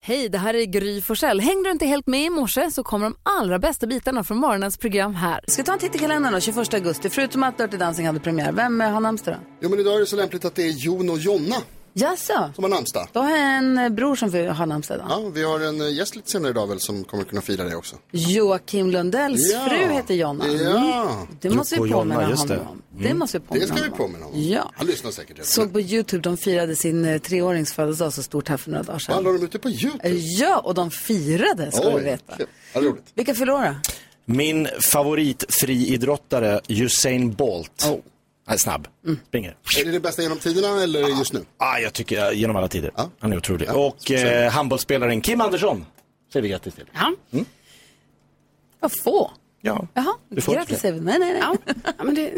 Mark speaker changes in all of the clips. Speaker 1: Hej, det här är Gry Forssell. Hängde du inte helt med i morse så kommer de allra bästa bitarna från morgonens program här. Ska vi ta en titt i kalendern då, 21 augusti? Förutom att Dirty Dancing hade premiär, vem eh, har namnsdag då?
Speaker 2: Jo men idag är det så lämpligt att det är Jon och Jonna
Speaker 1: Jaså?
Speaker 2: som har namnsdag.
Speaker 1: Då har jag en eh, bror som fyr- har namnsdag idag.
Speaker 2: Ja, vi har en eh, gäst lite senare idag väl som kommer kunna fira det också.
Speaker 1: Joakim Lundells
Speaker 2: Ja.
Speaker 1: fru heter Jonna. Mm.
Speaker 2: Ja,
Speaker 1: Det måste vi
Speaker 3: Och
Speaker 1: påminna
Speaker 3: Jonna, just
Speaker 1: honom
Speaker 3: det.
Speaker 1: om. Det måste vi påminna
Speaker 2: Mm. det ska vi
Speaker 1: honom om.
Speaker 2: påminna om.
Speaker 1: Ja.
Speaker 2: Han lyssnar säkert redan.
Speaker 1: Såg på YouTube, de firade sin eh, treårings födelsedag så stort här för några dagar
Speaker 2: Vad handlar
Speaker 1: sedan. Eh,
Speaker 2: de ute på YouTube?
Speaker 1: Ja, och de firade ska du veta.
Speaker 2: kul. Ja, roligt.
Speaker 1: Vilka fyller år då?
Speaker 3: Min favoritfriidrottare Usain Bolt.
Speaker 2: Oh.
Speaker 3: Han är snabb.
Speaker 1: Mm.
Speaker 3: Springer.
Speaker 2: Är det det bästa genom tiderna eller just nu?
Speaker 3: Ah, jag tycker eh, genom alla tider.
Speaker 2: Ja.
Speaker 3: Han är otrolig. Och eh, handbollsspelaren Kim Andersson säger vi grattis till. Mm.
Speaker 4: Ja.
Speaker 1: Vad få.
Speaker 3: Ja.
Speaker 1: Jaha,
Speaker 3: Du får
Speaker 1: grattis
Speaker 3: inte
Speaker 1: säger vi. Nej, nej, nej.
Speaker 4: ja. ja men det,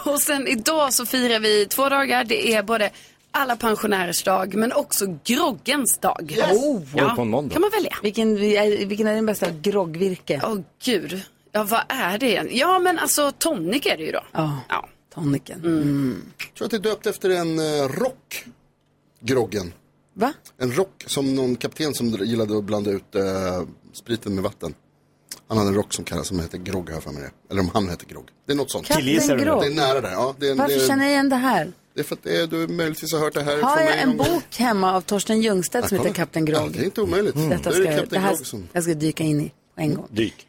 Speaker 4: och sen idag så firar vi två dagar. Det är både alla pensionärers dag men också groggens dag.
Speaker 3: Oh,
Speaker 4: Ja,
Speaker 3: på en måndag.
Speaker 4: kan man välja.
Speaker 1: Vilken, är- vilken är din bästa groggvirke?
Speaker 4: Åh gud. Ja, vad är det igen? Ja, men alltså tonic är det ju då.
Speaker 1: Ja.
Speaker 4: Ja.
Speaker 1: Toniken. Mm.
Speaker 2: Jag tror att det är döpt efter en eh, rock, groggen.
Speaker 1: Va?
Speaker 2: En rock som någon kapten som gillade att blanda ut eh, spriten med vatten. Han hade en rock som kallas, som hette Grogg här för mig det. Eller om han hette Grogg. Det är något sånt.
Speaker 3: Kille- Killgissar
Speaker 1: Kapten
Speaker 3: du nu?
Speaker 1: Grogg.
Speaker 2: Det är nära där. Ja, det är en, eh,
Speaker 1: Varför
Speaker 2: det är,
Speaker 1: känner jag igen det här?
Speaker 2: Det är för att det är, du möjligtvis har hört det här
Speaker 1: Har
Speaker 2: från
Speaker 1: jag
Speaker 2: mig
Speaker 1: en
Speaker 2: någon gång.
Speaker 1: bok hemma av Torsten Ljungstedt som
Speaker 2: Kolla.
Speaker 1: heter Kapten
Speaker 2: Ja, det är
Speaker 1: Grogg?
Speaker 2: inte omöjligt.
Speaker 1: Detta ska
Speaker 2: Då är det
Speaker 1: jag, det
Speaker 2: Kapten
Speaker 1: här,
Speaker 2: Grogg som...
Speaker 1: jag ska dyka in i på en gång.
Speaker 3: Dyk.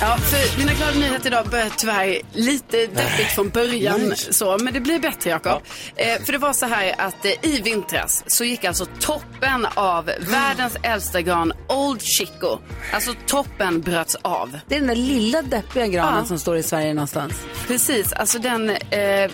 Speaker 4: Ja, för mina glada nyheter idag började tyvärr lite deppigt från början. Så, men det blir bättre, Jakob. Eh, för det var så här att eh, i vintras så gick alltså toppen av världens äldsta gran Old Chico. Alltså toppen bröts av.
Speaker 1: Det är den där lilla deppiga granen
Speaker 4: Ja.
Speaker 1: som står i Sverige någonstans.
Speaker 4: Precis, alltså den... Eh,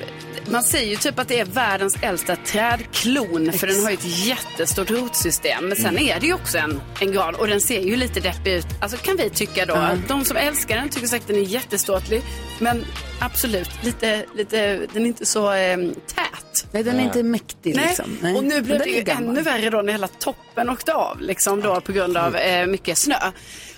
Speaker 4: man säger ju typ att det är världens äldsta trädklon för den har ju ett jättestort rotsystem. Men sen
Speaker 1: Mm.
Speaker 4: är det ju också en, en gran och den ser ju lite deppig ut. Alltså kan vi tycka då. De som älskar den tycker säkert den är jätteståtlig. Men absolut, lite, lite, den är inte så eh, tät.
Speaker 1: Nej, den är inte mäktig
Speaker 4: Nej.
Speaker 1: liksom.
Speaker 4: Och nu
Speaker 1: Men den
Speaker 4: blev det
Speaker 1: är
Speaker 4: ju
Speaker 1: gammal.
Speaker 4: ännu värre då när hela toppen åkte av liksom då på grund av eh, mycket snö.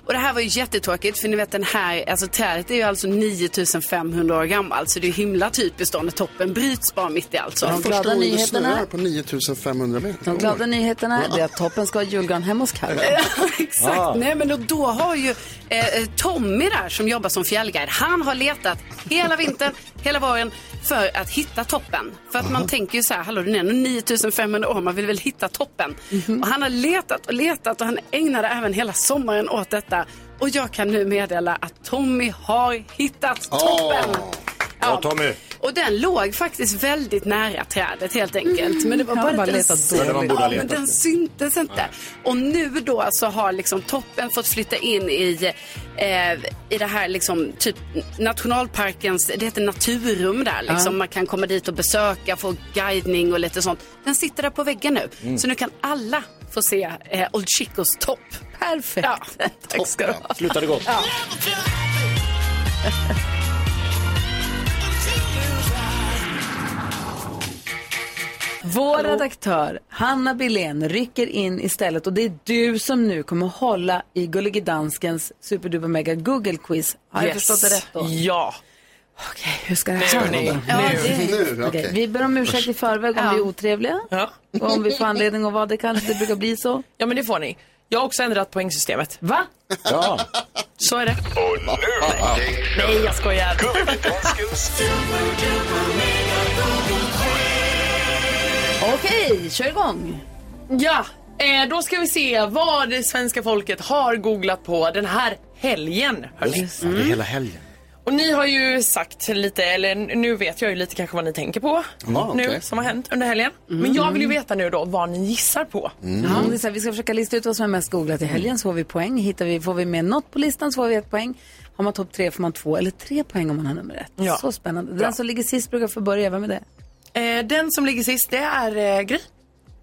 Speaker 4: Och det här var ju jättetråkigt för ni vet den här, alltså trädet är ju alltså 9500 år gammalt så det är ju himla typiskt då när toppen bryts bara mitt i allt. Så.
Speaker 2: Det är
Speaker 1: De
Speaker 2: första
Speaker 1: glada
Speaker 2: gången det
Speaker 1: nyheterna.
Speaker 2: snöar på 9500 meter.
Speaker 1: De glada nyheterna är att toppen ska ha julgran hemma hos Kalle.
Speaker 4: Ja, Exakt.
Speaker 1: Ah.
Speaker 4: Nej, men då, då har ju eh, eh, Tommy där som jobbar som fjällguide, han har letat hela vintern, hela våren för att hitta toppen. För att man tänker ju så här, hallå den är nog 9500 år, man vill väl hitta toppen. Och han har letat och letat och han ägnade även hela sommaren åt detta. Och jag kan nu meddela att Tommy har hittat toppen.
Speaker 3: Ja, Tommy.
Speaker 4: Och den låg faktiskt väldigt nära trädet helt enkelt. Men det var
Speaker 1: Han har
Speaker 4: bara,
Speaker 1: bara
Speaker 4: att den
Speaker 1: letat
Speaker 4: syn-
Speaker 1: dåligt.
Speaker 3: Ja, man borde ha
Speaker 4: Ja, men
Speaker 3: letat.
Speaker 4: den syntes inte. Och nu då så har liksom toppen fått flytta in i, eh, i det här liksom typ nationalparkens, det heter naturrum där liksom. Man kan komma dit och besöka, få guidning och lite sånt. Den sitter där på väggen nu.
Speaker 3: Mm.
Speaker 4: Så nu kan alla få se eh, Old Chicos topp.
Speaker 1: Perfekt.
Speaker 4: Ja, tack ska du ha.
Speaker 3: Slutade gott.
Speaker 1: Vår redaktör Hanna Billén rycker in istället och det är du som nu kommer hålla i Gullige Danskens superduper mega Google quiz. Har jag förstått det rätt då?
Speaker 5: Ja.
Speaker 1: Okej, hur ska det här gå?
Speaker 2: Nu,
Speaker 1: då?
Speaker 2: nu,
Speaker 1: Okej,
Speaker 2: okej.
Speaker 1: Vi ber om ursäkt i förväg om vi är otrevliga.
Speaker 5: Ja.
Speaker 1: Och om vi får anledning att vara det kanske, det brukar bli så.
Speaker 5: ja, men det får ni. Jag har också ändrat poängsystemet.
Speaker 1: Va?
Speaker 3: Ja.
Speaker 5: Så är det. Nej, jag skojar.
Speaker 1: Okej, kör igång.
Speaker 5: Ja, eh, då ska vi se vad det svenska folket har googlat på den här helgen. hörni.
Speaker 3: Det är hela helgen.
Speaker 5: Och ni har ju sagt lite, eller nu vet jag ju lite kanske vad ni tänker på
Speaker 2: Ja,
Speaker 5: nu
Speaker 2: okej.
Speaker 5: som har hänt under helgen. Men jag vill ju veta nu då vad ni gissar på.
Speaker 2: Mm.
Speaker 1: Ja, det är så här, vi ska försöka lista ut vad som är mest googlat i helgen så får vi poäng. Hittar vi, får vi med något på listan så får vi ett poäng. Har man topp tre får man två eller tre poäng om man har nummer ett.
Speaker 5: Ja.
Speaker 1: Så spännande. Den som ligger sist brukar få börja, vem är det?
Speaker 5: Eh, den som ligger sist det är eh, Gry.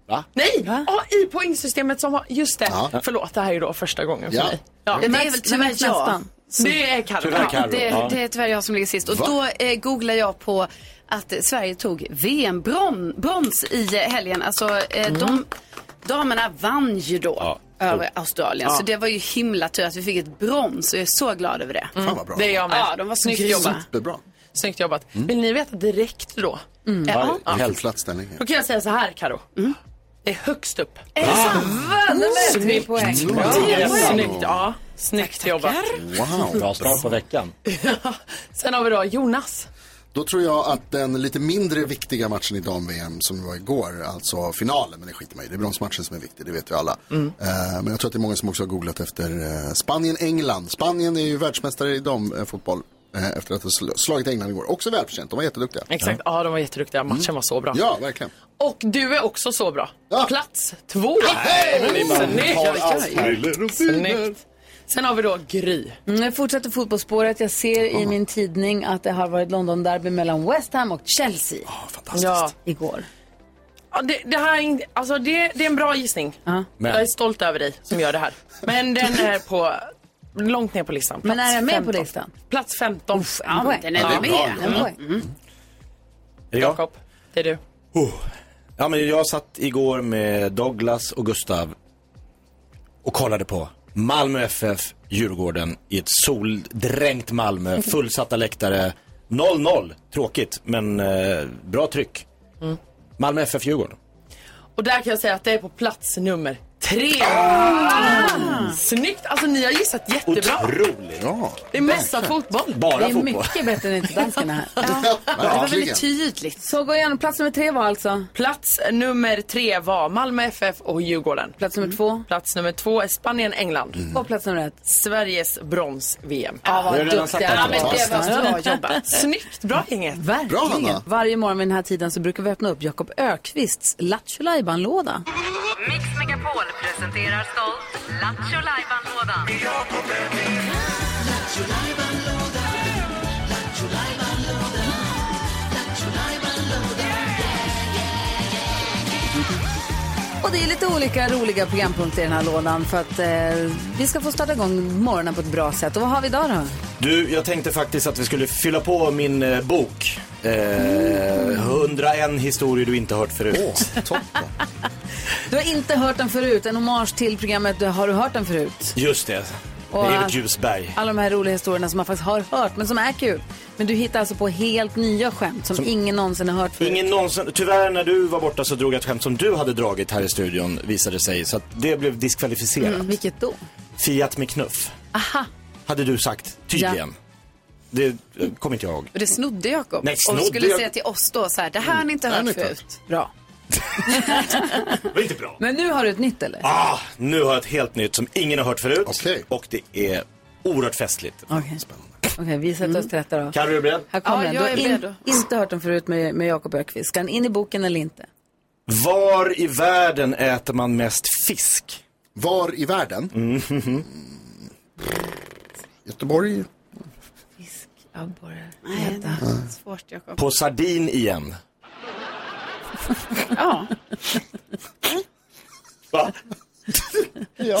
Speaker 3: Va?
Speaker 5: Nej, Ja, i poängsystemet som har, just det. Förlåt, det här är ju då första gången för
Speaker 2: Ja.
Speaker 5: mig. Ja.
Speaker 4: Det är väl tyvärr
Speaker 1: märks
Speaker 4: jag.
Speaker 1: nästan.
Speaker 5: Det är Carro.
Speaker 3: Tyvärr Carro.
Speaker 4: Det,
Speaker 3: Ja.
Speaker 4: det är tyvärr jag som ligger sist. Och
Speaker 3: Va?
Speaker 4: då eh, googlar jag på att Sverige tog VM-brons i eh, helgen. Alltså, eh, de, damerna vann ju då över Australien. Så det var ju himla tur att vi fick ett brons och jag är så glad över det. Mm.
Speaker 2: Fan vad bra.
Speaker 5: Det är jag med.
Speaker 4: Ja, de var snyggt
Speaker 5: Snyggt
Speaker 4: jobbat.
Speaker 5: jobbat.
Speaker 2: Superbra. Mm.
Speaker 5: Snyggt jobbat. Vill ni veta direkt då?
Speaker 4: Ja.
Speaker 2: Helt platt ställning.
Speaker 5: Då kan jag säga så här Carro.
Speaker 4: Mm.
Speaker 5: Det är högst upp.
Speaker 1: Är det sant? Oh, Tre poäng.
Speaker 5: Snyggt, ja. Snyggt jobbat.
Speaker 2: Wow.
Speaker 3: Bra start på veckan.
Speaker 5: Sen har vi då Jonas.
Speaker 2: Då tror jag att den lite mindre viktiga matchen i dam-VM som var igår, alltså finalen, men det skiter man i. Det är bronsmatchen som är viktig, det vet ju alla. Eh, men jag tror att det är många som också har googlat efter eh, Spanien-England. Spanien är ju världsmästare i damfotboll eh, efter att ha sl- slagit England igår. Också välförtjänt, de var jätteduktiga.
Speaker 5: Exakt, ja de var jätteduktiga.
Speaker 4: Mm.
Speaker 5: Matchen var så bra.
Speaker 2: Ja, verkligen.
Speaker 5: Och du är också så bra.
Speaker 2: Ja.
Speaker 5: Plats två.
Speaker 2: allt här.
Speaker 5: Snyggt. Snyggt. Sen har vi då Gry.
Speaker 1: Mm, Jag fortsätter fotbollsspåret. Jag ser i min tidning att det har varit London-derby mellan West Ham och Chelsea
Speaker 5: Ah, Ja.
Speaker 1: igår.
Speaker 5: Ja, det, det, här är, inte- alltså det, det är en bra gissning.
Speaker 3: Men-
Speaker 5: Jag är stolt över dig som gör det här. Men den är på, långt ner på listan.
Speaker 1: Men
Speaker 5: Plats
Speaker 1: är den med
Speaker 5: 15.
Speaker 1: på listan?
Speaker 5: Plats 15.
Speaker 1: En poäng.
Speaker 4: Den är väl med.
Speaker 1: En poäng.
Speaker 3: Är det jag?
Speaker 5: Jakob, det är du.
Speaker 3: Ja, men jag satt igår med Douglas och Gustav och kollade på Malmö FF, Djurgården i ett soldränkt Malmö, fullsatta läktare. 0-0, tråkigt men eh, bra tryck. Malmö FF, Djurgården.
Speaker 5: Och där kan jag säga att det är på plats nummer tre. Snyggt! Alltså ni har gissat jättebra.
Speaker 3: Otroligt.
Speaker 2: Ja,
Speaker 5: Det är mesta fotboll.
Speaker 1: Det
Speaker 3: Bara
Speaker 1: är
Speaker 3: fotboll.
Speaker 1: mycket bättre än interdanskarna här.
Speaker 4: Det var
Speaker 2: verkligen.
Speaker 4: väldigt tydligt.
Speaker 1: Så gå igenom. Plats nummer tre var alltså?
Speaker 5: Plats nummer tre var Malmö FF och Djurgården. Mm.
Speaker 1: Plats nummer två. Mm.
Speaker 5: Plats nummer två är Spanien-England.
Speaker 1: Och plats nummer ett.
Speaker 5: Sveriges brons-VM.
Speaker 1: Ja,
Speaker 3: Vi
Speaker 1: vad
Speaker 3: har redan satt
Speaker 1: duktiga.
Speaker 3: den
Speaker 1: Ja,
Speaker 3: på
Speaker 1: men
Speaker 3: plats.
Speaker 1: det var bra
Speaker 5: jobbat. Snyggt, bra gänget.
Speaker 2: Bra,
Speaker 1: Verkligen.
Speaker 2: Hanna.
Speaker 1: Varje morgon vid den här tiden så brukar vi öppna upp Jakob Ökvists Lattjo låda
Speaker 6: Mix Megapol presenterar stolt Lattjo Lajban-lådan.
Speaker 1: Och det är lite olika roliga programpunkter i den här lådan för att eh, vi ska få starta igång morgonen på ett bra sätt. Och vad har vi idag då?
Speaker 3: Du, jag tänkte faktiskt att vi skulle fylla på min eh, bok. Eh, 101 historier du inte hört förut.
Speaker 2: toppen.
Speaker 1: Du har inte hört den förut, en hommage till programmet Du- Har du hört den förut?
Speaker 3: Just det.
Speaker 1: Och
Speaker 3: Evert
Speaker 1: att-
Speaker 3: Ljusberg.
Speaker 1: Alla de här roliga historierna som man faktiskt har hört men som är kul. Men du hittar alltså på helt nya skämt som, ingen någonsin har hört förut.
Speaker 3: Ingen någonsin, tyvärr när du var borta så drog jag ett skämt som du hade dragit här i studion visade sig. Så att det blev diskvalificerat.
Speaker 1: Mm, vilket då?
Speaker 3: Fiat med knuff. Aha. Hade du sagt, tydligen. Det eh, kommer inte jag ihåg.
Speaker 4: Och det snodde Jakob.
Speaker 3: Nej, snodde Mm.
Speaker 4: och skulle
Speaker 3: jag-
Speaker 4: säga till oss då så här, det här har ni inte hört förut.
Speaker 1: Bra.
Speaker 3: Det var inte bra.
Speaker 1: Men nu har du ett nytt eller?
Speaker 3: Ah, nu har jag ett helt nytt som ingen har hört förut.
Speaker 2: Okej.
Speaker 3: Och det är oerhört festligt.
Speaker 1: Okej, Okej, vi sätter oss till rätta då.
Speaker 3: Kan du bli beredd?
Speaker 1: Här kommer
Speaker 4: Ja,
Speaker 1: den. Du
Speaker 4: jag
Speaker 1: har
Speaker 4: är
Speaker 1: in,
Speaker 4: redo.
Speaker 1: inte hört den förut med, med Jakob Ökvist. Ska den in i boken eller inte?
Speaker 3: Var i världen äter man mest fisk? Mm, mhm,
Speaker 2: Var i världen? Göteborg?
Speaker 1: Abborre.
Speaker 4: Nej, svårt Jakob.
Speaker 3: På sardin igen.
Speaker 4: Ja.
Speaker 3: Va?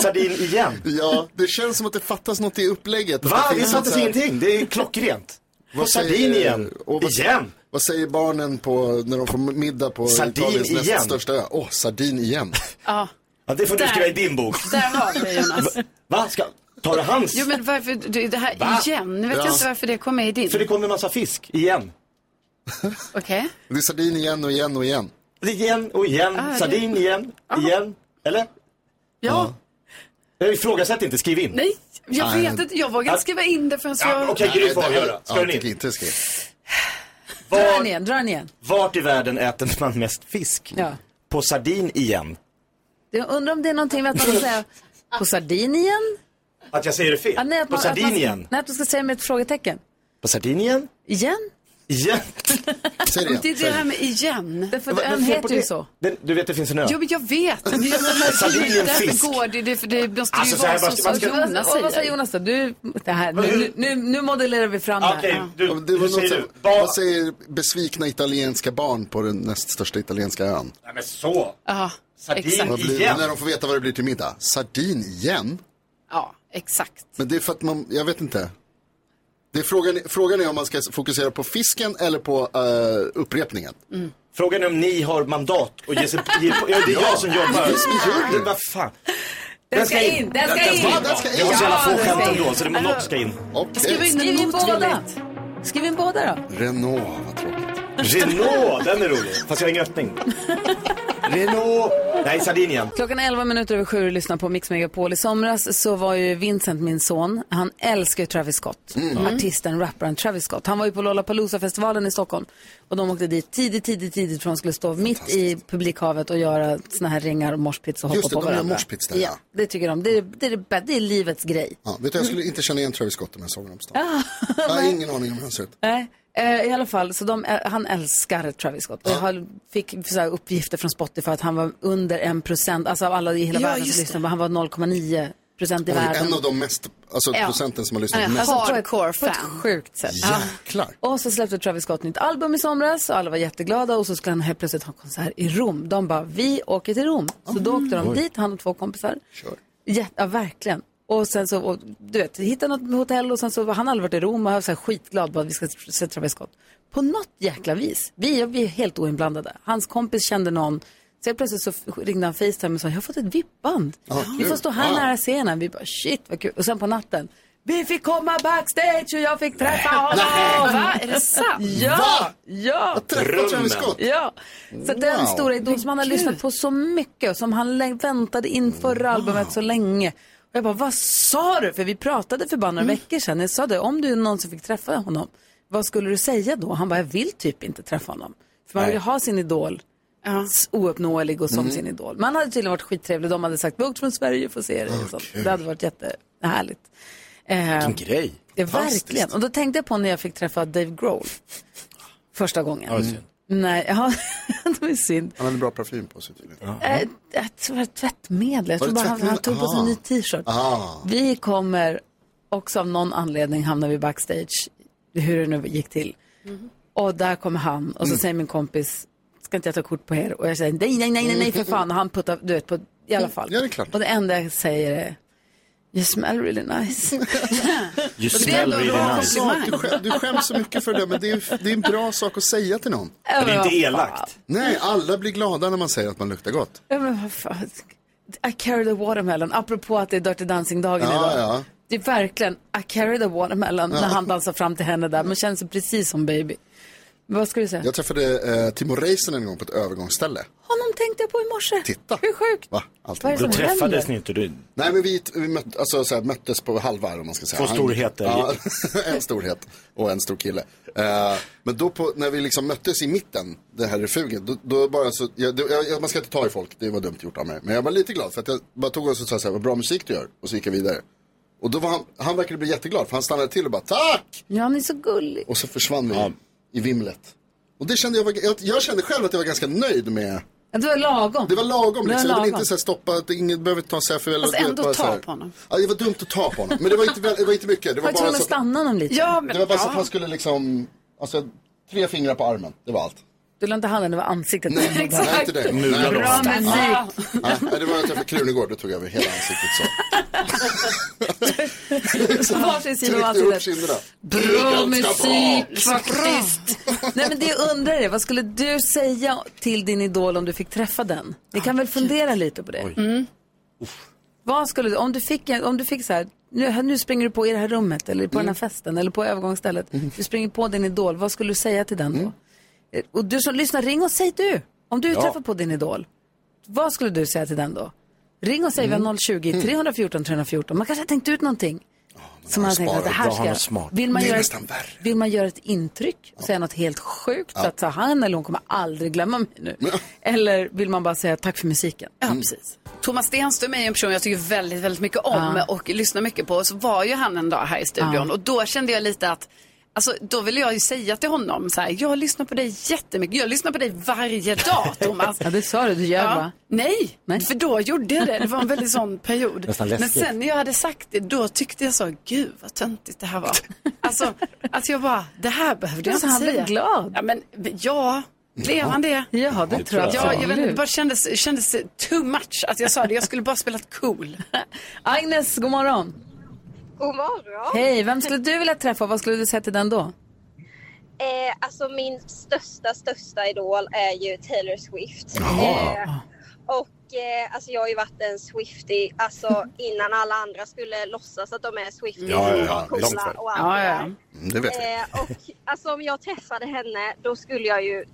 Speaker 3: Sardin igen?
Speaker 2: Ja, det känns som att det fattas något i upplägget.
Speaker 3: Va?
Speaker 2: Att
Speaker 3: Det
Speaker 2: finns något
Speaker 3: fattas
Speaker 2: så här-
Speaker 3: ingenting. Det är klockrent. På
Speaker 2: Vad
Speaker 3: sardin
Speaker 2: säger-
Speaker 3: igen.
Speaker 2: och vad-
Speaker 3: Igen.
Speaker 2: Vad säger barnen på, när de får middag på
Speaker 3: Sardin
Speaker 2: Italiens
Speaker 3: igen.
Speaker 2: näst största ö? Åh, sardin igen.
Speaker 4: ja,
Speaker 3: Ja, det får du
Speaker 4: Där.
Speaker 3: skriva i din bok.
Speaker 4: där har vi det, Jonas.
Speaker 3: Va? Ska... Tar du hans?
Speaker 4: Jo men varför, du, det här
Speaker 3: Va?
Speaker 4: igen, nu vet jag inte varför det kom med i din.
Speaker 3: För det kommer en massa fisk. Igen.
Speaker 4: Okej.
Speaker 2: Det är sardin igen och igen och igen.
Speaker 3: Igen och igen.
Speaker 4: Ah, det- Ah.
Speaker 3: Sardin igen. Igen. Eller?
Speaker 4: Ja.
Speaker 3: Jag ifrågasätter inte. Skriv in.
Speaker 4: Nej, jag
Speaker 2: Nej.
Speaker 4: vet inte, jag vågar inte skriva in det förrän
Speaker 3: Ja,
Speaker 4: jag...
Speaker 3: Okej, Gry får
Speaker 2: Nej, det här-
Speaker 3: avgöra. Ska
Speaker 2: ja,
Speaker 3: den
Speaker 2: tycker
Speaker 3: in?
Speaker 2: inte jag ska in.
Speaker 1: Dra den
Speaker 3: Var,
Speaker 1: igen, dra den igen.
Speaker 3: vart i världen äter man mest fisk?
Speaker 1: Ja.
Speaker 3: På sardin igen.
Speaker 1: Jag undrar om det är någonting med att man ska säga på sardin igen?
Speaker 3: Att jag säger det fel?
Speaker 1: Ja, nej, att
Speaker 3: På
Speaker 1: man,
Speaker 3: sardin
Speaker 1: att man,
Speaker 3: igen.
Speaker 1: Nej, att du ska säga med ett frågetecken.
Speaker 3: På sardin igen.
Speaker 1: Igen?
Speaker 3: Igen.
Speaker 2: Säg det
Speaker 4: Det
Speaker 2: igen.
Speaker 4: är det här med igen.
Speaker 1: Därför att
Speaker 3: Vad- vad
Speaker 1: ön
Speaker 3: fel på
Speaker 1: heter ju
Speaker 3: det?
Speaker 1: så.
Speaker 3: Den- Du vet, det finns en ö.
Speaker 4: Jo men jag vet, men jag
Speaker 3: Sardin är en fisk.
Speaker 4: därför går det, det, för det måste
Speaker 3: Alltså,
Speaker 4: ju
Speaker 3: så här
Speaker 4: vara
Speaker 3: bara-
Speaker 4: så
Speaker 3: man
Speaker 4: som
Speaker 3: ska-
Speaker 4: Jonas
Speaker 1: och vad sa
Speaker 4: säger.
Speaker 1: Jonas då? Du, det här, nu, nu, nu modellerar vi fram det
Speaker 3: Okej,
Speaker 1: här.
Speaker 3: du,
Speaker 2: Ja, men Det var
Speaker 3: hur
Speaker 2: något
Speaker 3: säger
Speaker 2: som,
Speaker 3: du? Ba-
Speaker 2: vad säger besvikna italienska barn på den näst största italienska ön?
Speaker 3: Nej men så!
Speaker 4: Ja,
Speaker 3: Sardin
Speaker 4: exakt.
Speaker 2: Vad blir,
Speaker 3: igen!
Speaker 2: när de får veta vad det blir till middag? Sardin igen?
Speaker 4: Ja, Exakt.
Speaker 2: Men det är för att man, jag vet inte. Det är frågan, frågan är om man ska fokusera på fisken eller på eh, upprepningen.
Speaker 3: Frågan är om ni har mandat och ge sig, ge, ja, det är jag som jobbar.
Speaker 2: Det är som är
Speaker 3: Vad fan.
Speaker 1: Den ska in, den ska in!
Speaker 2: den ska in.
Speaker 3: Jag har så jävla få
Speaker 1: Ja, den
Speaker 3: skämt
Speaker 1: ska in.
Speaker 3: ändå så det måste något ska in.
Speaker 1: Skriv
Speaker 2: Okej,
Speaker 1: in en båda. Skriv in båda då.
Speaker 2: Renault, vad tråkigt.
Speaker 3: Renault, den är rolig. Fast jag har ingen öppning. Renault. Nej, Sardinien.
Speaker 1: Klockan är 11 minuter över sju och lyssnar på Mix Megapol. I somras så var ju Vincent, min son, han älskar ju Travis Scott.
Speaker 2: Mm.
Speaker 1: Mm. Artisten, rapparen Travis Scott. Han var ju på Lollapalooza-festivalen i Stockholm. Och de åkte dit tidigt, tidigt, tidigt för de skulle stå mitt i publikhavet och göra såna här ringar och morspits och hoppa
Speaker 2: Just det,
Speaker 1: på
Speaker 2: de gör
Speaker 1: varandra.
Speaker 2: moshpits där,
Speaker 1: ja.
Speaker 2: ja.
Speaker 1: Det tycker de. Det är, det är, det bä- det är livets grej. Mm.
Speaker 2: Ja, vet du, jag skulle inte känna igen Travis Scott om jag såg honom på stan. Jag har ingen aning om hur han ser ut.
Speaker 1: Nej, eh, i alla fall, så de, eh, han älskar Travis Scott. Och han fick så här, uppgifter från Spotify att han var under 1 procent, alltså av alla i hela
Speaker 4: Ja,
Speaker 1: världen
Speaker 4: just
Speaker 1: som
Speaker 4: det.
Speaker 1: lyssnade, på- han var 0,9 procent i
Speaker 2: Oj,
Speaker 1: världen.
Speaker 2: en av de mest, alltså
Speaker 1: Ja.
Speaker 2: procenten som har lyssnat
Speaker 4: Ja,
Speaker 2: mest.
Speaker 4: har-
Speaker 1: På ett-
Speaker 4: Hardcore
Speaker 1: På ett
Speaker 4: fan.
Speaker 1: sjukt sätt.
Speaker 2: Jäklar.
Speaker 1: Och så släppte Travis Scott nytt album i somras och alla var jätteglada och så skulle han helt plötsligt ha konsert i Rom. De bara, vi åker till Rom. Så då åkte de dit, han och två kompisar.
Speaker 2: Mm. Kör.
Speaker 1: Ja, ja, verkligen. Och sen så, och, du vet, hittade något hotell och sen så, var han aldrig varit i Rom och jag var så här skitglad bara att vi ska se Travis Scott. På något jäkla vis, vi, vi är helt oinblandade. Hans kompis kände någon, så helt plötsligt så ringde han Facetime och sa, jag har fått ett vippband. Vi får
Speaker 2: kul.
Speaker 1: stå här
Speaker 2: Wow.
Speaker 1: nära scenen. Vi bara, shit vad kul. Och sen på natten, vi fick komma backstage och jag fick träffa honom.
Speaker 4: Va? Är det sant?
Speaker 1: Ja, ja.
Speaker 2: Träffa Travis Scott.
Speaker 1: Ja, så den stora idol som han har lyssnat på så mycket och som han lä- väntade in förra albumet så länge. Och jag bara, vad sa du? För vi pratade för bara några
Speaker 3: Mm.
Speaker 1: veckor sedan. Jag sa det, om du någonsin fick träffa honom, vad skulle du säga då? Han bara, jag vill typ inte träffa honom. För man vill ju ha sin idol s- ouppnåelig och som
Speaker 3: Mm.
Speaker 1: sin idol. Man hade tydligen varit skittrevlig. De hade sagt, vi har åkt från Sverige får se dig. och sånt. Det hade varit jättehärligt. Eh,
Speaker 3: Vilken grej.
Speaker 1: Ja, verkligen. Och då tänkte jag på när jag fick träffa Dave Grohl första gången. Nej, ja, det var ju synd.
Speaker 2: Han hade bra parfym på sig tydligen.
Speaker 1: Eh, Jag tror det var tvättmedel. Jag
Speaker 2: Var
Speaker 1: tror
Speaker 2: det
Speaker 1: bara han, han
Speaker 2: tvättmedel?
Speaker 1: tog på sig en
Speaker 2: Ah.
Speaker 1: ny t-shirt.
Speaker 2: Ah.
Speaker 1: Vi kommer också av någon anledning hamnar vi backstage, hur det nu gick till. Och där kommer han
Speaker 2: Mm.
Speaker 1: och så säger min kompis, ska inte jag ta kort på er? Och jag säger nej, nej, nej, nej, nej för fan. Och han puttar, du vet, på, i alla fall.
Speaker 2: Ja, det är klart.
Speaker 1: Och det enda jag säger är, you smell really nice.
Speaker 3: You
Speaker 4: Det är
Speaker 3: smell
Speaker 4: ändå en bra
Speaker 3: really nice.
Speaker 2: Du,
Speaker 4: komplimang.
Speaker 2: skäm, du skäms så mycket för det, men det är, det är en bra sak att säga till någon.
Speaker 3: Men det är inte elakt.
Speaker 2: Nej, alla blir glada när man säger att man luktar gott.
Speaker 1: Ja, men vad fan. I carry the watermelon, apropå att det är Dirty Dancing-dagen
Speaker 2: Ja,
Speaker 1: idag.
Speaker 2: ja.
Speaker 1: Det är verkligen I carry the watermelon när han dansar fram till henne där. Man känner sig precis som baby. Men vad ska du säga?
Speaker 2: Jag träffade eh, Timo Reisen en gång på ett övergångsställe.
Speaker 1: Honom tänkte jag på i morse.
Speaker 2: Titta.
Speaker 1: Hur sjukt?
Speaker 2: Va?
Speaker 1: Vad är
Speaker 2: Allting.
Speaker 1: det
Speaker 3: Då
Speaker 1: som händer?
Speaker 3: träffades ni inte. Du,
Speaker 2: Nej, men vi, vi möt, alltså, så här, möttes på halvvarv om man ska säga.
Speaker 3: Två
Speaker 2: Han-
Speaker 3: storheter.
Speaker 2: Ja, en storhet och en stor kille. Eh, men då på, när vi liksom möttes i mitten, det här refugen, då, då bara så, jag, det- jag, man ska inte ta i folk, det var dumt gjort av mig. Men jag var lite glad för att jag bara tog oss och sa så här, vad bra musik du gör. Och så gick jag vidare. Och då var han, han verkade bli jätteglad för han stannade till och bara, tack!
Speaker 1: Ja, han är så gullig.
Speaker 2: Och så försvann vi i vimlet. Och det kände jag, var, jag, jag kände själv att jag var ganska nöjd med
Speaker 1: Ja, Det var lagom.
Speaker 2: det var lagom
Speaker 1: Det var
Speaker 2: liksom. Jag vill
Speaker 1: lagom.
Speaker 2: inte så här, stoppa, att ingen behöver ta sig för eller
Speaker 4: Fast
Speaker 2: du vet,
Speaker 4: ändå
Speaker 2: bara
Speaker 4: ta
Speaker 2: så här.
Speaker 4: på honom.
Speaker 2: Ja, det var dumt att ta på honom. Men det var inte, väl- det var inte mycket. Det var
Speaker 1: Var
Speaker 2: bara
Speaker 1: tvungen att
Speaker 2: så att,
Speaker 1: stanna honom lite.
Speaker 4: Ja,
Speaker 2: det
Speaker 4: men
Speaker 2: var bara så
Speaker 4: ja.
Speaker 2: att han skulle liksom, alltså tre fingrar på armen. Det var allt.
Speaker 1: Du lade inte handen över ansiktet.
Speaker 2: Nej, nej inte det. Nej,
Speaker 3: Mulade
Speaker 1: Bra
Speaker 3: oss.
Speaker 2: nej,
Speaker 1: musik.
Speaker 2: nej, det var när jag träffade Krunegård, då tog jag över hela ansiktet så.
Speaker 1: På varsin sida av
Speaker 2: Tryckte upp
Speaker 1: ansiktet.
Speaker 2: kinderna.
Speaker 1: Bra
Speaker 2: Jag ska
Speaker 1: musik faktiskt. Nej men det jag undrar är, vad skulle du säga till din idol om du fick träffa den? Ni kan väl fundera lite på det. Mm. Vad skulle du, om du fick, en- om du fick så här, nu, nu springer du på i det här rummet eller på den här festen eller på övergångsstället. Du springer på din idol, vad skulle du säga till den då? Eh, Och du som lyssnar, ring och säg du. Om du träffar på din idol, vad skulle du säga till den då? Ring och säg
Speaker 2: Mm.
Speaker 1: vi har 020 314 314. Man kanske har tänkt ut någonting. Som man tänker att det
Speaker 2: sparat.
Speaker 1: här
Speaker 3: Bra,
Speaker 1: ska
Speaker 3: han är
Speaker 1: jag...
Speaker 3: smart.
Speaker 1: Vill man,
Speaker 2: Det är
Speaker 1: göra ett,
Speaker 2: nästan värre.
Speaker 1: vill man göra ett intryck och säga något helt sjukt så att så, han eller hon kommer aldrig glömma mig nu? Eller vill man bara säga tack för musiken?
Speaker 4: Ja,
Speaker 2: Mm.
Speaker 4: precis. Thomas Stenström är ju en person jag tycker väldigt, väldigt mycket om och lyssnar mycket på. Så var ju han en dag här i studion och då kände jag lite att Alltså, då ville jag ju säga till honom så här, jag lyssnar på dig jättemycket. Jag lyssnar på dig varje dag, Thomas.
Speaker 1: Ja, det sa du. Du ljög va?
Speaker 4: Nej,
Speaker 1: Nej.
Speaker 4: för då gjorde jag det. Det var en väldigt sån period.
Speaker 3: Nästan
Speaker 4: Men
Speaker 3: läskigt.
Speaker 4: sen när jag hade sagt det, då tyckte jag så, gud vad töntigt det här var. Alltså, att jag bara, det här behövde jag
Speaker 1: Alltså,
Speaker 4: inte
Speaker 1: han blev
Speaker 4: säga.
Speaker 1: glad.
Speaker 4: Ja, men ja, blev han det?
Speaker 1: Ja, det tror jag.
Speaker 4: Ja, jag vet inte, det
Speaker 1: absolut.
Speaker 4: bara kändes, kändes too much att jag sa det. Jag skulle bara spelat cool.
Speaker 1: Agnes, god morgon.
Speaker 7: God morgon.
Speaker 1: Hej, vem skulle du vilja träffa? Vad skulle du säga till den då?
Speaker 7: Eh, alltså min största, största idol är ju Taylor Swift.
Speaker 1: Jaha.
Speaker 7: Eh, och eh, alltså jag har ju varit en Swiftie alltså innan alla andra skulle låtsas att de är Swifties.
Speaker 2: Ja, ja,
Speaker 7: och
Speaker 2: ja,
Speaker 7: coola
Speaker 2: långt väl.
Speaker 7: och allt
Speaker 4: Ja,
Speaker 7: det där.
Speaker 4: ja.
Speaker 2: Mm, det vet jag.
Speaker 7: Eh, och alltså om jag träffade henne då skulle jag ju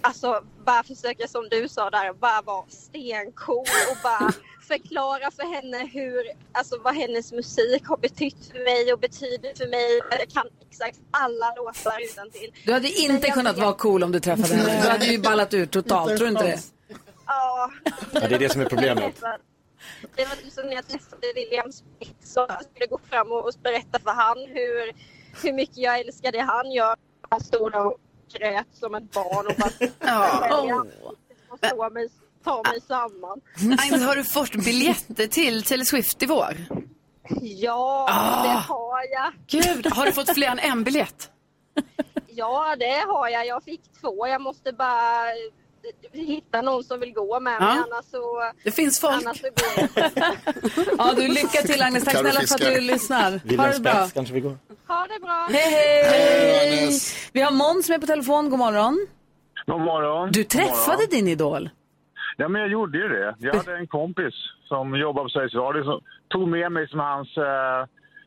Speaker 7: alltså bara försöka som du sa där bara vara stencool och bara förklara för henne hur alltså vad hennes musik har betytt för mig och betyder för mig. Jag kan exakt alla låtar utantill.
Speaker 1: Du hade inte
Speaker 7: jag
Speaker 1: kunnat
Speaker 7: vet-
Speaker 1: vara cool om du träffade henne. Du hade ju ballat ur totalt, tror du inte det?
Speaker 7: Ja.
Speaker 3: Ja, det är det som är problemet.
Speaker 7: Det var typ som när jag träffade William Smith så jag skulle gå fram och och berätta för han hur, hur mycket jag älskade han. Jag bara stod och grät som ett barn och bara
Speaker 4: Ja.
Speaker 7: Jag måste ta mig, ta mig samman.
Speaker 4: Agnes, har du fått biljetter till Taylor Swift i vår?
Speaker 7: Ja,
Speaker 1: Ah.
Speaker 7: det har jag.
Speaker 4: Gud, har du fått fler än en biljett?
Speaker 7: Ja, det har jag. Jag fick två. Jag måste bara eh, hitta någon som vill gå med mig
Speaker 4: Ja.
Speaker 7: annars så,
Speaker 4: Det finns folk.
Speaker 7: annars så går jag inte.
Speaker 1: Ja, du lycka till Agnes. Tack
Speaker 2: Kan du
Speaker 1: snälla för att
Speaker 2: fiska?
Speaker 1: du lyssnar. Ha
Speaker 3: William
Speaker 1: det bra.
Speaker 3: Spets kanske vi går.
Speaker 7: Ha det bra!
Speaker 1: Hej, hej!
Speaker 2: Agnes.
Speaker 1: Vi har Måns med på telefon. God morgon.
Speaker 8: God morgon.
Speaker 1: Du träffade din idol.
Speaker 8: Ja, men jag gjorde ju det. Jag hade en kompis som jobbade på Sveriges Radio som tog med mig som hans eh,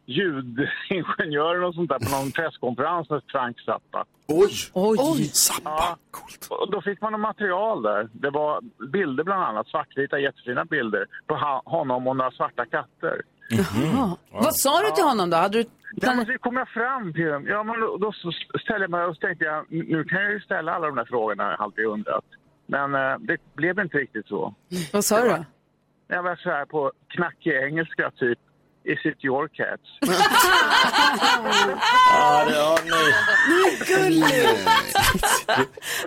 Speaker 8: ljudingenjör och sånt där på någon presskonferens med Frank Zappa.
Speaker 2: Oj!
Speaker 1: Oj.
Speaker 2: Zappa! Coolt.
Speaker 8: Och då fick man en material där. Det var bilder bland annat, svartvita jättefina bilder på ha- honom och några svarta katter.
Speaker 2: Mm-hmm.
Speaker 1: Ja. Vad sa du till honom då? Hade du...
Speaker 8: Ja, men så kom jag fram till dem. Ja, men då, då så ställde jag mig och så tänkte jag, nu kan jag ju ställa alla de där frågorna jag alltid undrat. Men eh, det blev inte riktigt så.
Speaker 1: Vad sa du då?
Speaker 8: Jag var så här på knackig engelska, typ. Is it your cats?
Speaker 3: Ja, det, ja, nej.